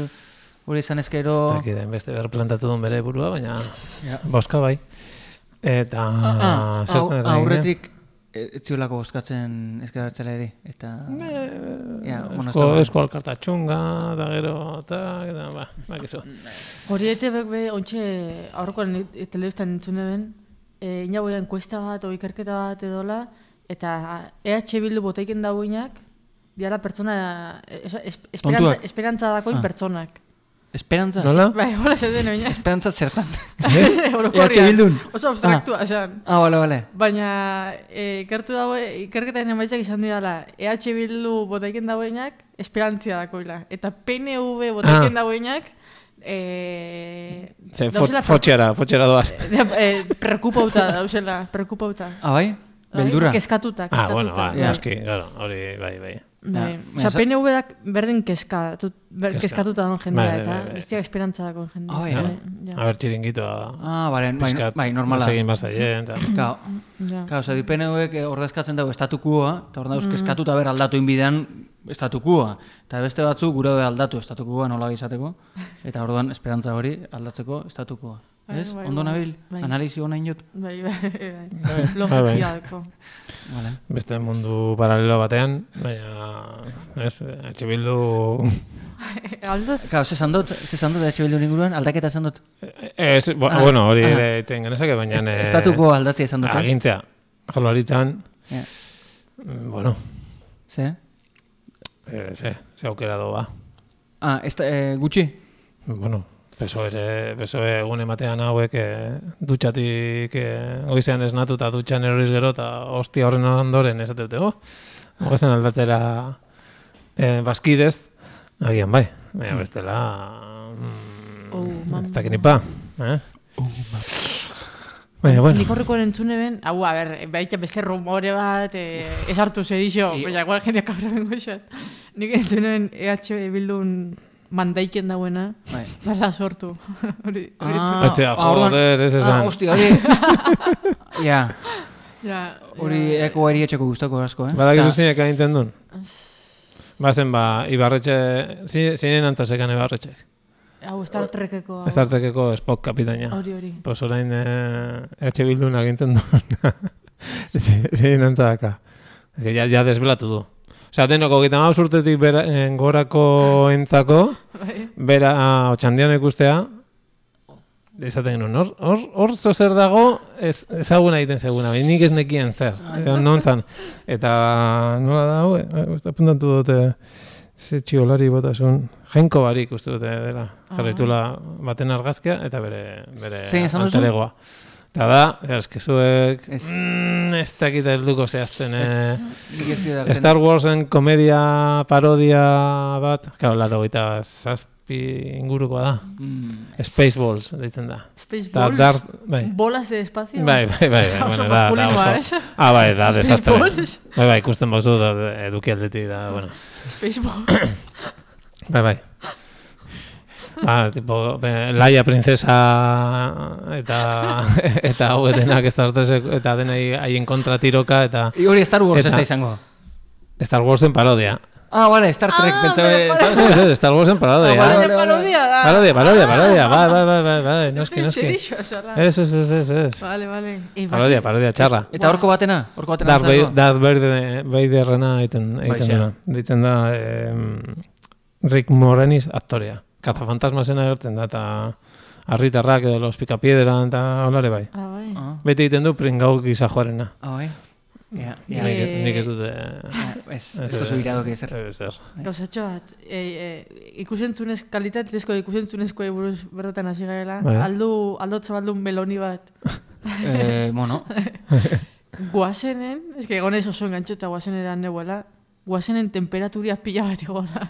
E: hori izan ezkero...
D: ez dakit den beste berplantatu duen bere burua, baina boska bai. Eta...
E: Ah,
D: zehazten
E: au-
D: ari ginen.
E: aurretik eh, ez ziolako bozkatzen ezkera ere, eta...
D: Eh,
E: Ja, bueno,
D: Esko,
E: ez da-
D: esko alkarta txunga, da gero, eta, eta, ba, bakizu.
C: Hori ete be, ontxe, aurrokoan e- telebistan entzune ben, e, inagoia enkuesta bat, o ikerketa bat edola, eta EH Bildu boteiken dauinak, diala pertsona, e- esa- es, esperantza,
E: Tontuak.
C: esperantza
D: Ah.
C: dakoin pertsonak.
E: Esperantza?
D: Nola?
C: Bai, hola zeuden oinak.
E: Esperantza zertan.
D: E
C: Orokorrean.
E: EH Bildun?
C: Oso abstraktua, esan.
E: ah, bale, bale.
C: Baina, e, ikertu dago, ikerketaren emaitzak izan didala, EH Bildu botaiken dauenak, esperantzia dakoila. Eta PNV botaiken
D: Ah.
C: dauenak, e,
D: Ze, fo-
C: dauzela per-
D: fotxera, fotxera doaz. Ah,
C: e, preokupauta dauzela, preokupauta.
E: Ah, bai? Beldurra.
C: Bai, Kezkatuta, kezkatuta.
D: Ah, bueno, ba,
E: Ja.
D: noski, claro, hori, bai, bai.
C: Bai.
E: Ja,
C: Osa,
E: sa-
C: PNV dak berdin kezkatu, ber,
D: Kezka.
C: kezkatuta dagoen jendea,
D: Bai, bai,
C: eta
D: bai, bai.
C: bestiak esperantza dagoen jendea.
E: Ah, bai,
C: Bai,
E: eh?
C: ja,
D: A ber, txiringitoa,
E: Ah, bale, bai,
D: pizkat,
E: bai, normala.
D: Egin bazaien, eta...
E: Kao,
C: ja. Mm.
E: kao, zedi PNVek ordezkatzen dago estatukua, eta hor dauz kezkatuta ber aldatu inbidean estatukua. Eta beste batzu gure be aldatu estatukua nola izateko, eta orduan esperantza hori aldatzeko estatukua.
C: Bai,
E: Ez?
C: bai,
E: Ondo
C: bai.
E: nabil,
C: Bai.
E: analizi hona inot.
C: Bai, bai, bai.
D: Bai,
C: Logikia
D: bai.
C: dako.
E: Vale.
D: Beste mundu paralelo batean, baina, ez, etxe bildu... Ah, bai.
C: Aldo,
E: Kao, zezan dut, zezan dut, etxe bildun inguruan, aldaketa zan dut.
D: Ez, bo-
E: Ah,
D: bueno, hori
E: ah.
D: ere itzen genezake, baina... eh,
E: Estatuko aldatzea izan dut, ez?
D: Agintzea, jaularitzan,
E: Ja.
D: mm, bueno,
E: Ze?
D: eh, ze, ze aukera doa.
E: Ah, ez, eh, gutxi?
D: Bueno, PSOE, ere- PSOE E egun ematean hauek eh, dutxatik eh, goizean esnatu eta dutxan eroriz gero eta hostia horren ondoren esate dute, oh, goazen aldatzera eh, baskidez, agian bai, baina bestela... Mm,
C: Oh,
D: ez
C: mamma.
D: dakit ni pa, eh?
C: Nik
D: Baina, bueno,
C: horrekoan entzune ben, hau, a ber, baita beste rumore bat, eh, ez hartu zer iso, baina igual jendea kabra bengo izan. Nik entzune ben EH Bildun mandaiken dauena,
E: Bai.
C: bala sortu. hori, hori
E: Ah,
D: Hostia,
E: ah, orduan-
D: joder, ez
E: Ah,
D: esan.
E: hostia, hori. Ja.
C: Ja,
E: Hori
C: ja.
E: eko ari etxeko guztako asko, eh?
D: Badakizu
E: Eta-
D: zinek agintzen duen? Bazen, ba, ibarretxe, zi- zinen antzasekan ibarretxek.
C: Hau, Star Trekeko. hau.
D: Estartekeko Spock kapitaina.
C: Hori, hori.
D: Pues orain eh, EH Bildun agintzen duen. Zein antzadaka. Ez que ja, ja desbelatu du. Osea, denoko gita maus urtetik bera, eh, gorako entzako,
C: Bai.
D: bera ah, otxandian ikustea, izaten genuen, hor, hor, hor zo zer dago, ez, ezaguna egiten seguna, baina nik ez nekien zer, edo non zan. Eta nola da, hau, eh, uste apuntatu dute, ze txiolari botasun, jenko barik uste dute dela, jarritula baten argazkia, eta bere, bere
E: Ah. Zein esan duzu?
D: alteregoa. Eta da, eske zuek,
E: Ez.
D: mm, ez dakita helduko zehazten, eh,
E: Nik ez dira hartzen.
D: Star Warsen komedia parodia bat, claro, laro gita zazpi ingurukoa da.
E: Mm,
D: Spaceballs deitzen da. Da,
C: Spaceballs.
D: dar, bai.
C: Bolas de espacio.
D: Bai, bai, bai, bai,
C: Oso
D: bueno, da, da,
C: maskulinoa,
D: oso-
C: eh?
D: Ah, bai, da, desastre.
C: Spaceballs.
D: Bai, bai, ikusten bauzu, da, eduki aldetik, da, bueno.
C: Spaceballs.
D: Bai, bai. Ba, tipo, be, Laia princesa eta eta hau denak Star Tresek eta denai haien kontra tiroka eta
E: I Hori Star Wars
D: Eta-
E: ez da izango.
D: Star Warsen parodia.
E: Ah, vale, Star Trek,
C: Ah,
E: pentsa
C: vale,
E: be-
C: vale.
D: Ez, ez, ez, Star Warsen parodia.
E: Ah, vale,
C: Baina parodia da.
D: Parodia, parodia, parodia, bai, bai, bai, bai, bai, noski,
C: Estoy
D: noski.
C: serizo, zorra.
D: Ez, ez, ez, ez, ez.
C: Vale, vale. Eh, bai.
D: Parodia, parodia, txarra.
E: Eta horko batena? Horko batena
D: Darth Vader-
E: antzako?
D: Darth Vader- Vaderrena egiten, egiten
E: Baixe.
D: dena. Ditzen da, em, Rick Moranis aktorea. Cazafantasmasen agertzen da, eta harritarrak edo los picapiedran, eta holare bai.
C: Ah, bai.
E: Ah,
D: Beti egiten du pringau gisa joarena.
E: ah, bai. Ja, ja.
D: Nik,
C: Eh,
D: nik ez dute...
E: Ah, Ez,
D: Ez, Eh,
E: ez tozu
D: ez.
E: irado que zer.
D: Ez, ez.
C: Gauzatxo bat, e, e, ikusentzunez, kalitatezko ikusentzunezko buruz berrotan hasi garela,
D: Bai.
C: aldu, aldo zabaldun beloni bat
E: Eh, bueno,
C: guazenen, eske egonez oso engantxota guazenera neuela, guazenen temperaturia pila bat ego da.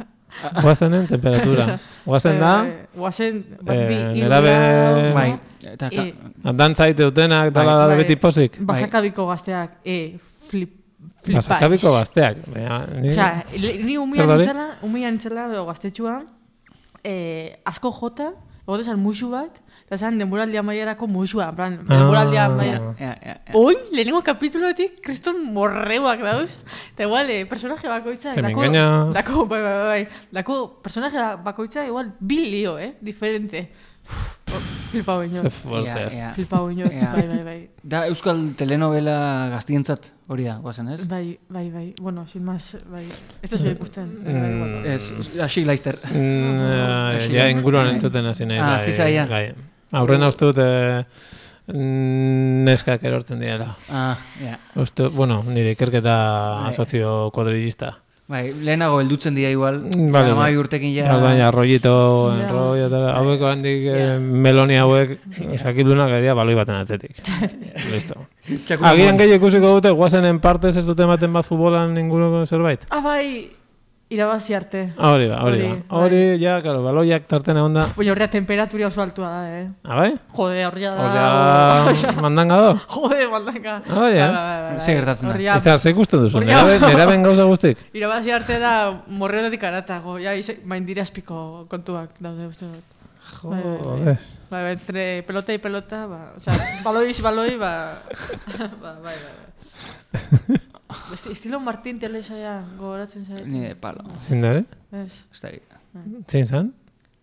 D: Guaztenen temperatura. Guazten da,
C: Eh, guazen,
D: eh,
C: bat bi, hiru
D: nerabe-
C: grau,
E: bai. Eta,
C: Eh,
D: dantzaite dutenak, dala da
C: Bai.
D: Ah, beti pozik.
C: Basakabiko gazteak, e, flip, flipais.
D: Pasakabiko gazteak. Baina, ni-
C: Osea, le- ni umia
D: Eh, Zer da hori?
C: nintzela, umia nintzela, edo gaztetxua, eh, asko jota, egote zen musu bat, eta zen denboraldi amaierako musua, en plan, denboraldi
D: Ah.
C: amaiera.
E: ja, ja, ja.
C: Oin, lehenengo kapitulotik, kriston morreuak dauz. Eta igual, eh, personaje bakoitza...
D: Se me engaña.
C: Dako, bai, bai, bai, bai. Dako, personaje bakoitza, igual, bi lio, eh? Diferente. Uf, oh, Flipa baino.
D: Ze fuerte.
E: Ja, ja.
C: Flipa baino,
E: Ja.
C: bai, bai, bai.
E: Da euskal telenovela gaztientzat hori da, guazen, ez?
C: Bai, bai, bai. Bueno, sin más, bai. Ez
D: Eh,
C: zuen ikusten. bai, bai, igual.
E: Ez, hasi laizter.
D: Mm,
E: Hasi
D: ja,
E: naiz.
D: inguruan entzuten hasi nahi.
E: Ah, ziza, ja.
D: Gai. Aurrena uste dut eh, neskak erortzen direla.
E: Ah, ja.
D: Uste, bueno, nire ikerketa
E: Bai.
D: sozio kuadrillista.
E: Bai, lehenago heldutzen dira igual.
D: Mm, bale.
E: Amai urtekin ja.
D: Orduan, ja, rollito,
C: Ja.
D: enrollo, eta hauek handik eh, meloni hauek sakilunak edia baloi baten atzetik. Listo.
E: Txakur
D: Agian
E: Ramon.
D: gehi ikusiko dute, guazenen partez ez dute ematen bat futbolan inguruko zerbait.
C: Ah, bai, irabazi arte.
D: Ah, Hori ba, hori
C: Hori,
D: ba.
C: bai.
D: Hori, ja, claro, baloiak tartena onda.
C: Baina horrea temperaturia oso altua da, eh?
D: Ah, bai?
C: Jode, horria Ah, da.
D: Hori mandanga do.
C: Jode, baldaka.
D: Ah, bai, eh?
C: Bai, bai, bai, bai.
E: Zer gertatzen da?
C: Horria-
D: Izar, ze ikusten duzu,
C: Hori-
D: nerabe, neraben gauza guztik?
C: Irabazi arte da morreotatik aratago, ja, ize- maindira espiko kontuak daude uste dut. Bai, bai, bai.
D: Joder.
C: Bai, bai, entre pelota y pelota, ba, o sea, baloi is baloi, ba, ba, bai, bai, bai. Beste, estilo Martín Telesa ja, gogoratzen zaitu.
E: Ni de palo.
D: Zein da, eh?
C: Ez.
E: Ez da,
D: Zein zan?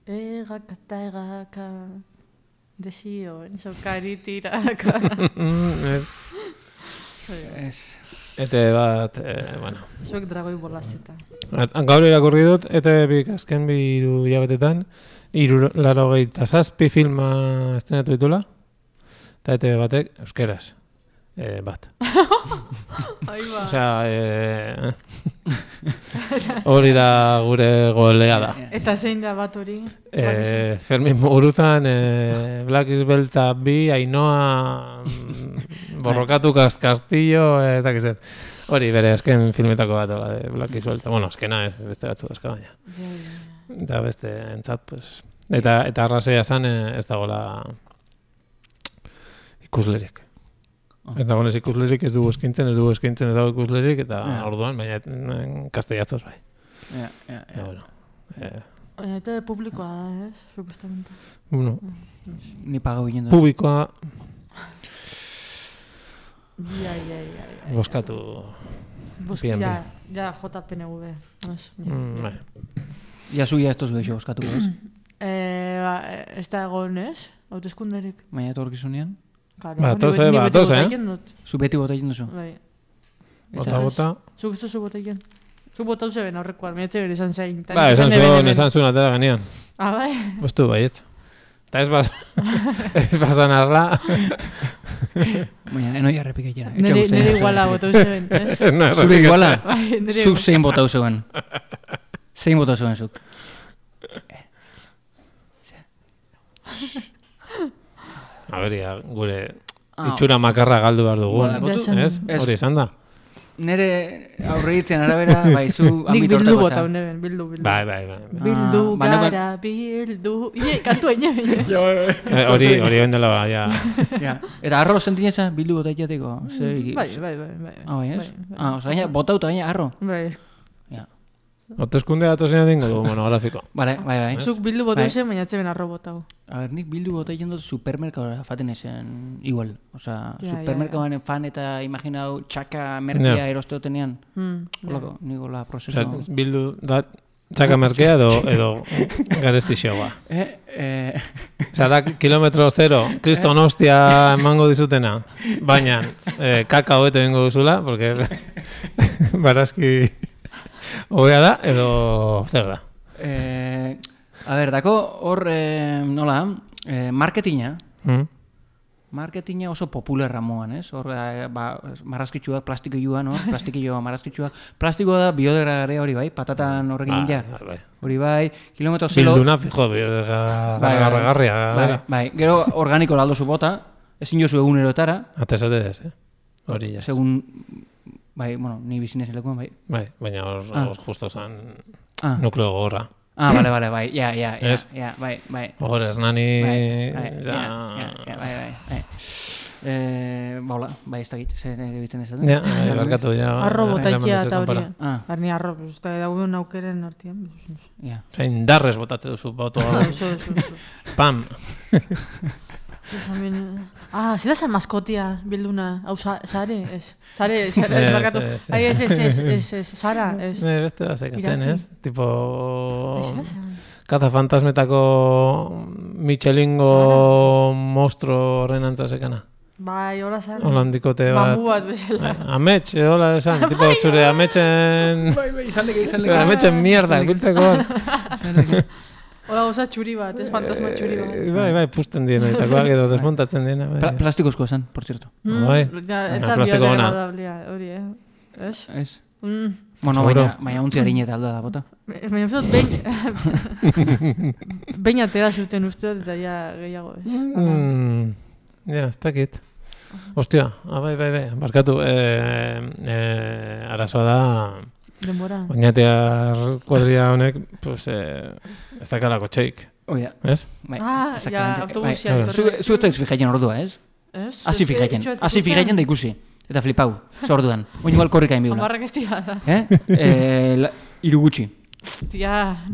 C: Egaka eta egaka, desio, enzo karitiraka.
D: Mm, ez.
E: ez.
D: Ete bat, eh, bueno.
C: Zuek dragoi bolazeta.
D: At- Gaur irakurri dut, ete bik azken bi hiru hilabetetan, hiru laro gehieta zazpi filma estrenatu ditula, eta ete batek euskeraz. Eh, bat.
C: Ah. Ai, ba.
D: Osea, eh, hori da gure golea da.
C: Eta zein da bat hori?
D: Eh, Fermin Muguruzan, eh, Black is Beltza bi, Ainoa, mm, Borrokatu Kas- Castillo, eh, eta zer. Hori, bere, azken filmetako bat, hola, de Black is Beltza. Bueno, azkena, ez, beste batzu dauzka baina.
C: Ja, ja.
D: Eta beste, entzat, pues. Eta, eta arrazoia zan, eh, ez dagoela ikuslerik.
C: Ah.
D: Ez dagoenez ikuslerik, ez dugu eskintzen, ez dugu eskintzen, ez dago ikuslerik, eta
E: Ja.
D: orduan, baina mm, castellazos bai.
E: Ja, ja,
D: Ja,
E: ja.
D: bueno. Eh,
C: Baina Eta publikoa da, ez? Supuestamente.
D: bueno,
E: Ni pagau ginen du.
D: publikoa
C: Ya, ya, ya. ya.
D: Boskatu.
C: Bus-
D: Bien,
C: ja, ja, JPNV. Ez, ja.
D: Mm, bai.
E: Ja zuia ez tozu gehiago eskatuko ez.
C: Eh, ba, ez da egon, ez? Hautezkunderik.
E: Baina etorkizunean,
C: Claro,
D: Ba,
C: ni
D: toz,
C: bet-
D: eh,
C: ni
D: ba,
C: beti
D: toz,
C: bota
D: eh?
C: egiten dut.
E: zu beti bota egiten duzu.
C: Bai.
D: Bota, bota.
C: Zuk ez duzu bota egin. Zuk bota zeben aurrekoan, miratzen bere izan zein. Tan
D: Ba, esan
C: neben,
D: zuen,
C: neben.
D: esan zuen atera ganean.
C: Ah, bai?
D: Bostu baietz. Eta ez bas... ez basan arla.
E: Baina enoi arrepik egin.
C: Nere, nere iguala bota zeben, ez?
D: no,
E: Zure iguala,
C: Bai, nere
E: zuk zein bota zeuen. Zein bota zeuen zuk.
D: A ber, ja, gure
E: Ah.
D: itxura makarra galdu behar
E: Ba,
D: dugun.
E: botu-
C: esan-
D: Ez?
E: Ez.
D: Hori izan da.
E: Nere aurreitzen arabera, bai, zu
C: Nik
E: ambito
C: bildu
E: hortako
C: bota
E: zea.
C: neben, bildu, bildu.
D: Bai, bai, bai.
C: Bildu
E: Ah, ba, neu-
C: gara, bildu... Ie, kantu egin neben.
D: Eh, Hori, hori bendela, ba, ja.
E: Ja. Eta arro sentineza bildu bota egiteko. Zer,
C: Bai, bai, bai, bai.
E: Ah, bai, ez?
C: Bai, bai.
E: Ah, oza, gaina, botauta gaina, arro.
C: Bai,
E: Ja.
D: Otezkunde datozenean ingo dugu monografiko.
C: Ah.
E: Bale, bai, bai.
C: zuk bildu bota
E: Bai.
C: zeben, baina zeben arro botau.
E: A ber, nik bildu bota egin dut supermerkadora faten esen, igual. Osa,
C: Ja, ja,
E: supermerkadoaren fan eta imaginau txaka merkia
D: Ja.
E: erosteotenean.
C: Hmm,
E: Olako, nik hola prozesu.
D: Osea, bildu da txaka merkea edo, edo garesti xegoa.
E: Eh, eh,
D: Osea, da kilometro zero, kriston hostia emango dizutena. Baina, eh, kaka hobeto egingo duzula, porque barazki hobea da, edo zer da.
E: eh, a ber, dako hor, eh, nola, eh, marketinga.
D: Mm?
E: Marketinga oso popularra moan, ez? Hor, eh, ba, marrazkitxuak, plastiko joan, hor, plastiko joan, marrazkitxuak. Plastikoa da biodegradarea hori bai, patatan horrekin
D: Ba,
E: ja.
D: ba, bai.
E: Hori bai, kilometro zelo...
D: Bilduna, fijo, eh,
E: Bai, bai,
D: garragarria.
E: Bai,
D: gara.
E: bai, gero organiko laldo zu bota, ezin jozu egunerotara,
D: Ate esate des, eh? Hori jas.
E: segun, bai, bueno, ni bizinez lekuan, bai.
D: Bai, baina hor,
E: Ah.
D: hor justo zan
E: Ah,
D: nukleo gogorra.
E: ah bale, bale, bai, ja, ja, ja,
D: Ez.
E: ja, bai, bai.
D: Hor Hernani...
E: Bai, bai,
D: da-
E: ja, ja, ja, bai, bai, bai. Eh, baula, bai, ez dakit, zer egitzen ez
D: Ja, bai, barkatu ja.
C: Arro botaikia
D: eraman duzu
C: eta hori. Bai,
D: kanpora.
E: Ah.
C: Arni arro, pues, eta dauden aukeren bai, artian. pues,
E: Ja.
D: Osea, indarrez botatze duzu, boto,
C: Ah, eso, eso, eso.
E: Ah.
D: pam.
C: Eso también- Ah, si das al mascotia, bilduna. Hau, sa- sare, es. Sare, sare,
D: Ez,
C: es, barkatu.
D: ez,
C: Ai, es, es, es, es, es, Sara, es.
D: Ne, beste da zekaten,
C: Irati.
D: ez? Tipo... Oh.
C: Ez, ez,
D: Kazafantasmetako Michelingo monstruo horren antzasekana.
C: Bai, hola, Sara.
D: Holandikote bat. Bai,
C: Bambu bat bezala.
D: Amets, eh, hola esan, tipo
C: Bai.
D: zure ametsen...
E: Bai, bai, izan leke, izan
D: Zure ametsen mierda, biltzeko
C: Bai.
D: Eh, hor.
C: Hola, goza txuri bat, es fantasma txuri bat.
D: Eh, Bai, bai, pusten diena, eta guak edo desmontatzen diena. bai.
E: Pla plastikozkoa zen, por cierto.
C: Mm,
D: bai.
C: Ja, ez
D: Baina
C: da
D: plastiko ona.
C: biodegradablea, hori, eh? Ez?
E: Ez?
C: Mm.
E: Bueno,
D: Seguro.
E: baina, baina untzi harina eta alda da bota.
C: Baina uste dut, behin... behin atera zuten uste dut, eta ja gehiago, ez?
D: Mm, ja, ez dakit. Ostia, ah, bai, bai, bai, barkatu, eh, eh, arazoa da,
C: Denbora.
D: Bai, oinatear kuadria honek, pues, eh, ez dakalako txeik,
E: Oia,
D: ez?
E: bai,
C: Ah, ja,
E: exactamente.
C: autobusia
D: Bai.
E: Zu,
C: etorri.
E: zu ez zaiz fijaien ordua, ez?
C: Ez?
E: Hasi fijaien, hasi fijaien da ikusi. Eta flipau, ze orduan. Oin igual korrika inbiula.
C: Amarrak ez dira da.
E: Eh? Eh, la, iru gutxi.
C: Ja,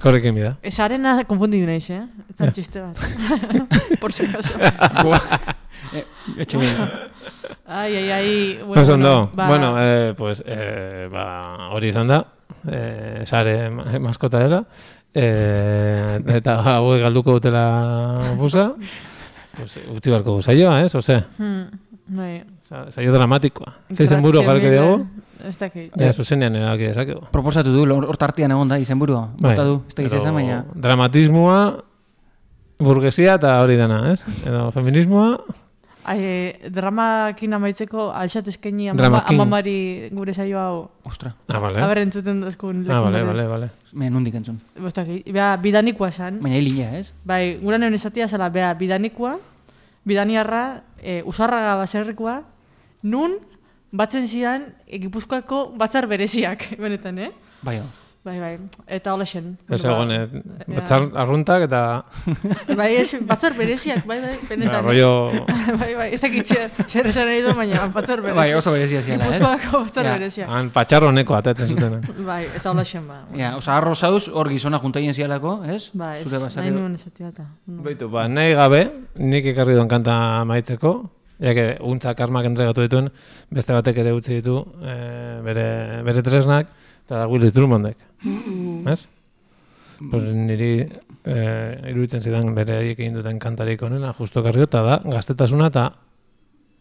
D: Korrik enbida.
C: esarena konfundidu naiz, eh? Ez da txiste bat. Por si acaso.
E: Eh, etxe behin.
C: Ai, ai, ai. Bueno,
D: Pues ondo,
C: ba,
D: bueno, eh, pues, eh, ba, hori izan da, eh, sare ma- maskota dela, eh, eta hauek galduko dutela busa, pues, utzi barko busaioa, ez, ose,
C: hmm, bai.
D: sa- saio dramatikoa. Zeizen buru
C: Grazia
D: jarriko
C: mila.
D: dugu,
C: Ez dakit.
D: Ja, zuzenean erabaki dezakegu.
E: Proposatu du, hor hor tartean egon da, izenburua.
D: Bai,
E: Bota du, ez da
D: edo
E: izan, baina...
D: Dramatismoa, burgesia eta hori dana, ez? Edo feminismoa,
C: Ai, eh, dramakin amaitzeko, alxat eskaini amama-
D: Dramakin.
C: amamari gure saio hau.
E: Ostra,
D: ah, bale.
C: A ber, entzuten duzkun.
D: ah, bale,
C: lekun
D: bale, bale.
E: me nondik entzun.
C: baten. Ez dakit. Bea, bidanikoa san.
E: Baina hilina, ez?
C: Bai, gura neuen esatia zela, bea, bidanikoa, bidaniarra, e, usarraga baserrikoa, nun batzen zidan e, Gipuzkoako batzar bereziak, benetan, eh?
E: Bai, hor.
C: Bai, bai, eta hola xen.
D: Ez
C: ba,
D: egon, eh, batzar arruntak eta
C: Bai, ez, batzar bereziak, bai, bai,
D: Ba,
C: benetan.
D: arroio...
C: bai, bai, ez dakit zer- zer esan nahi du, baina batzar bereziak.
E: Bai, oso berezia ziala, ez?
C: Gipuzkoako batzar
E: Ja.
C: bereziak.
D: Han, patxarroneko atatzen zuten. eh.
C: Bai, eta hola xen, ba.
E: Ja, oza, arro zauz, hor gizona juntaien zialako, ez?
C: Ba, ez,
E: Zure
C: nahi
E: basari...
D: Bai.
C: nuen esatia eta. no.
D: Baitu, ba, nahi gabe, nik ekarri duen kanta maitzeko, ja que untzak armak entregatu dituen, beste batek ere utzi ditu e, bere, bere tresnak, eta Willis Drummondek. Ez? Pues niri e, iruditzen zidan bere haiek egin duten kantarik onena, justo karrio, eta da gaztetasuna eta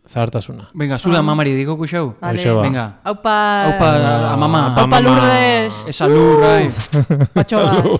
D: zahartasuna.
E: Venga,
C: Bai.
E: zula mamari digo kuxau.
C: Vale.
D: Hoxe ba.
E: Venga.
C: Aupa,
E: Opa, amama.
D: Aupa,
C: Aupa
D: mama.
C: Lourdes.
E: Esa lurra. eh.
C: Patxoa.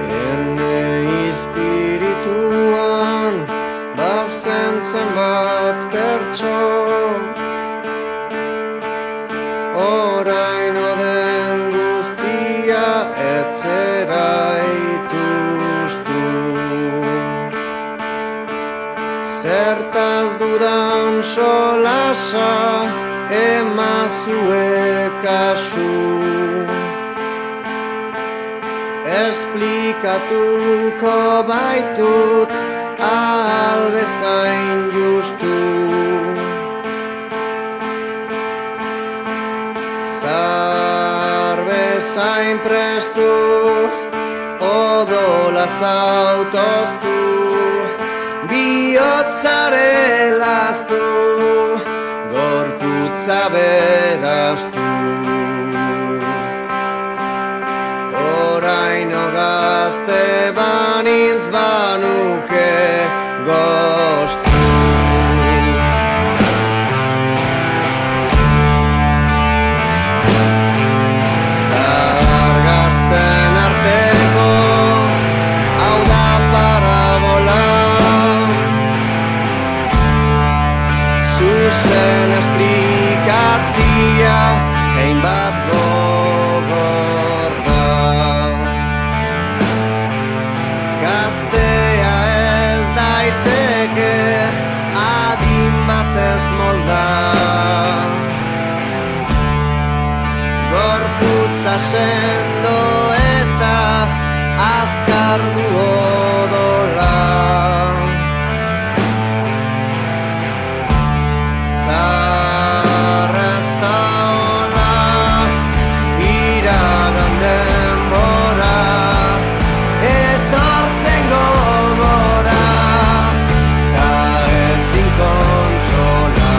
G: Ene espirituan bazen zenbat pertson Orain oden guztia etzera ituztu Zertaz dudan solasa emazue kasu Esplikatuko baitut ahal bezain justu Zar bezain prestu odola zautoztu Biotzare lastu gorputza berastu Oraino gazte banintz banuke goztu Zahar gazten arteko hau da parabola Zuzen esplikatzia Hein bat gogor da Gaztea ez daiteke adin batez molda Gorputza sendo eta azkar du odola Zarrasta hola iragan denbora etortzen gogora Ta ezin kontsola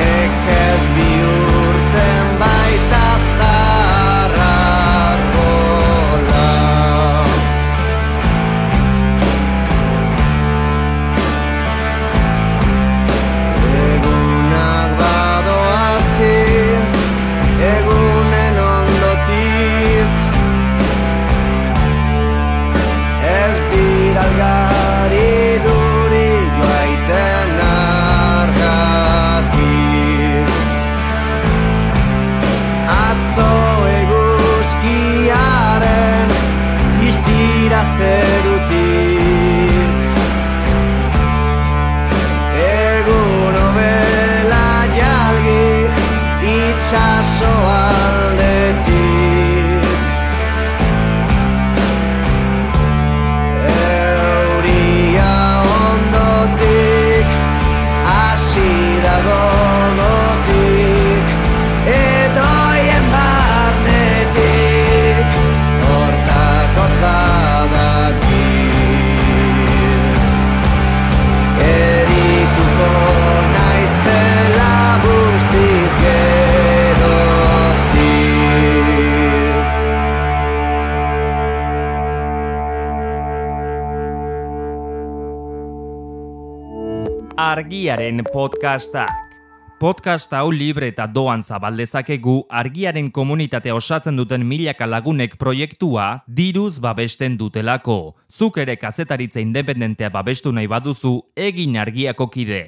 G: Nekez bihurtzen bai
A: Argiaren podcastak. Podcast hau libre eta doan zabaldezakegu argiaren komunitatea osatzen duten milaka lagunek proiektua diruz babesten dutelako. Zuk ere kazetaritza independentea babestu nahi baduzu egin argiako kide.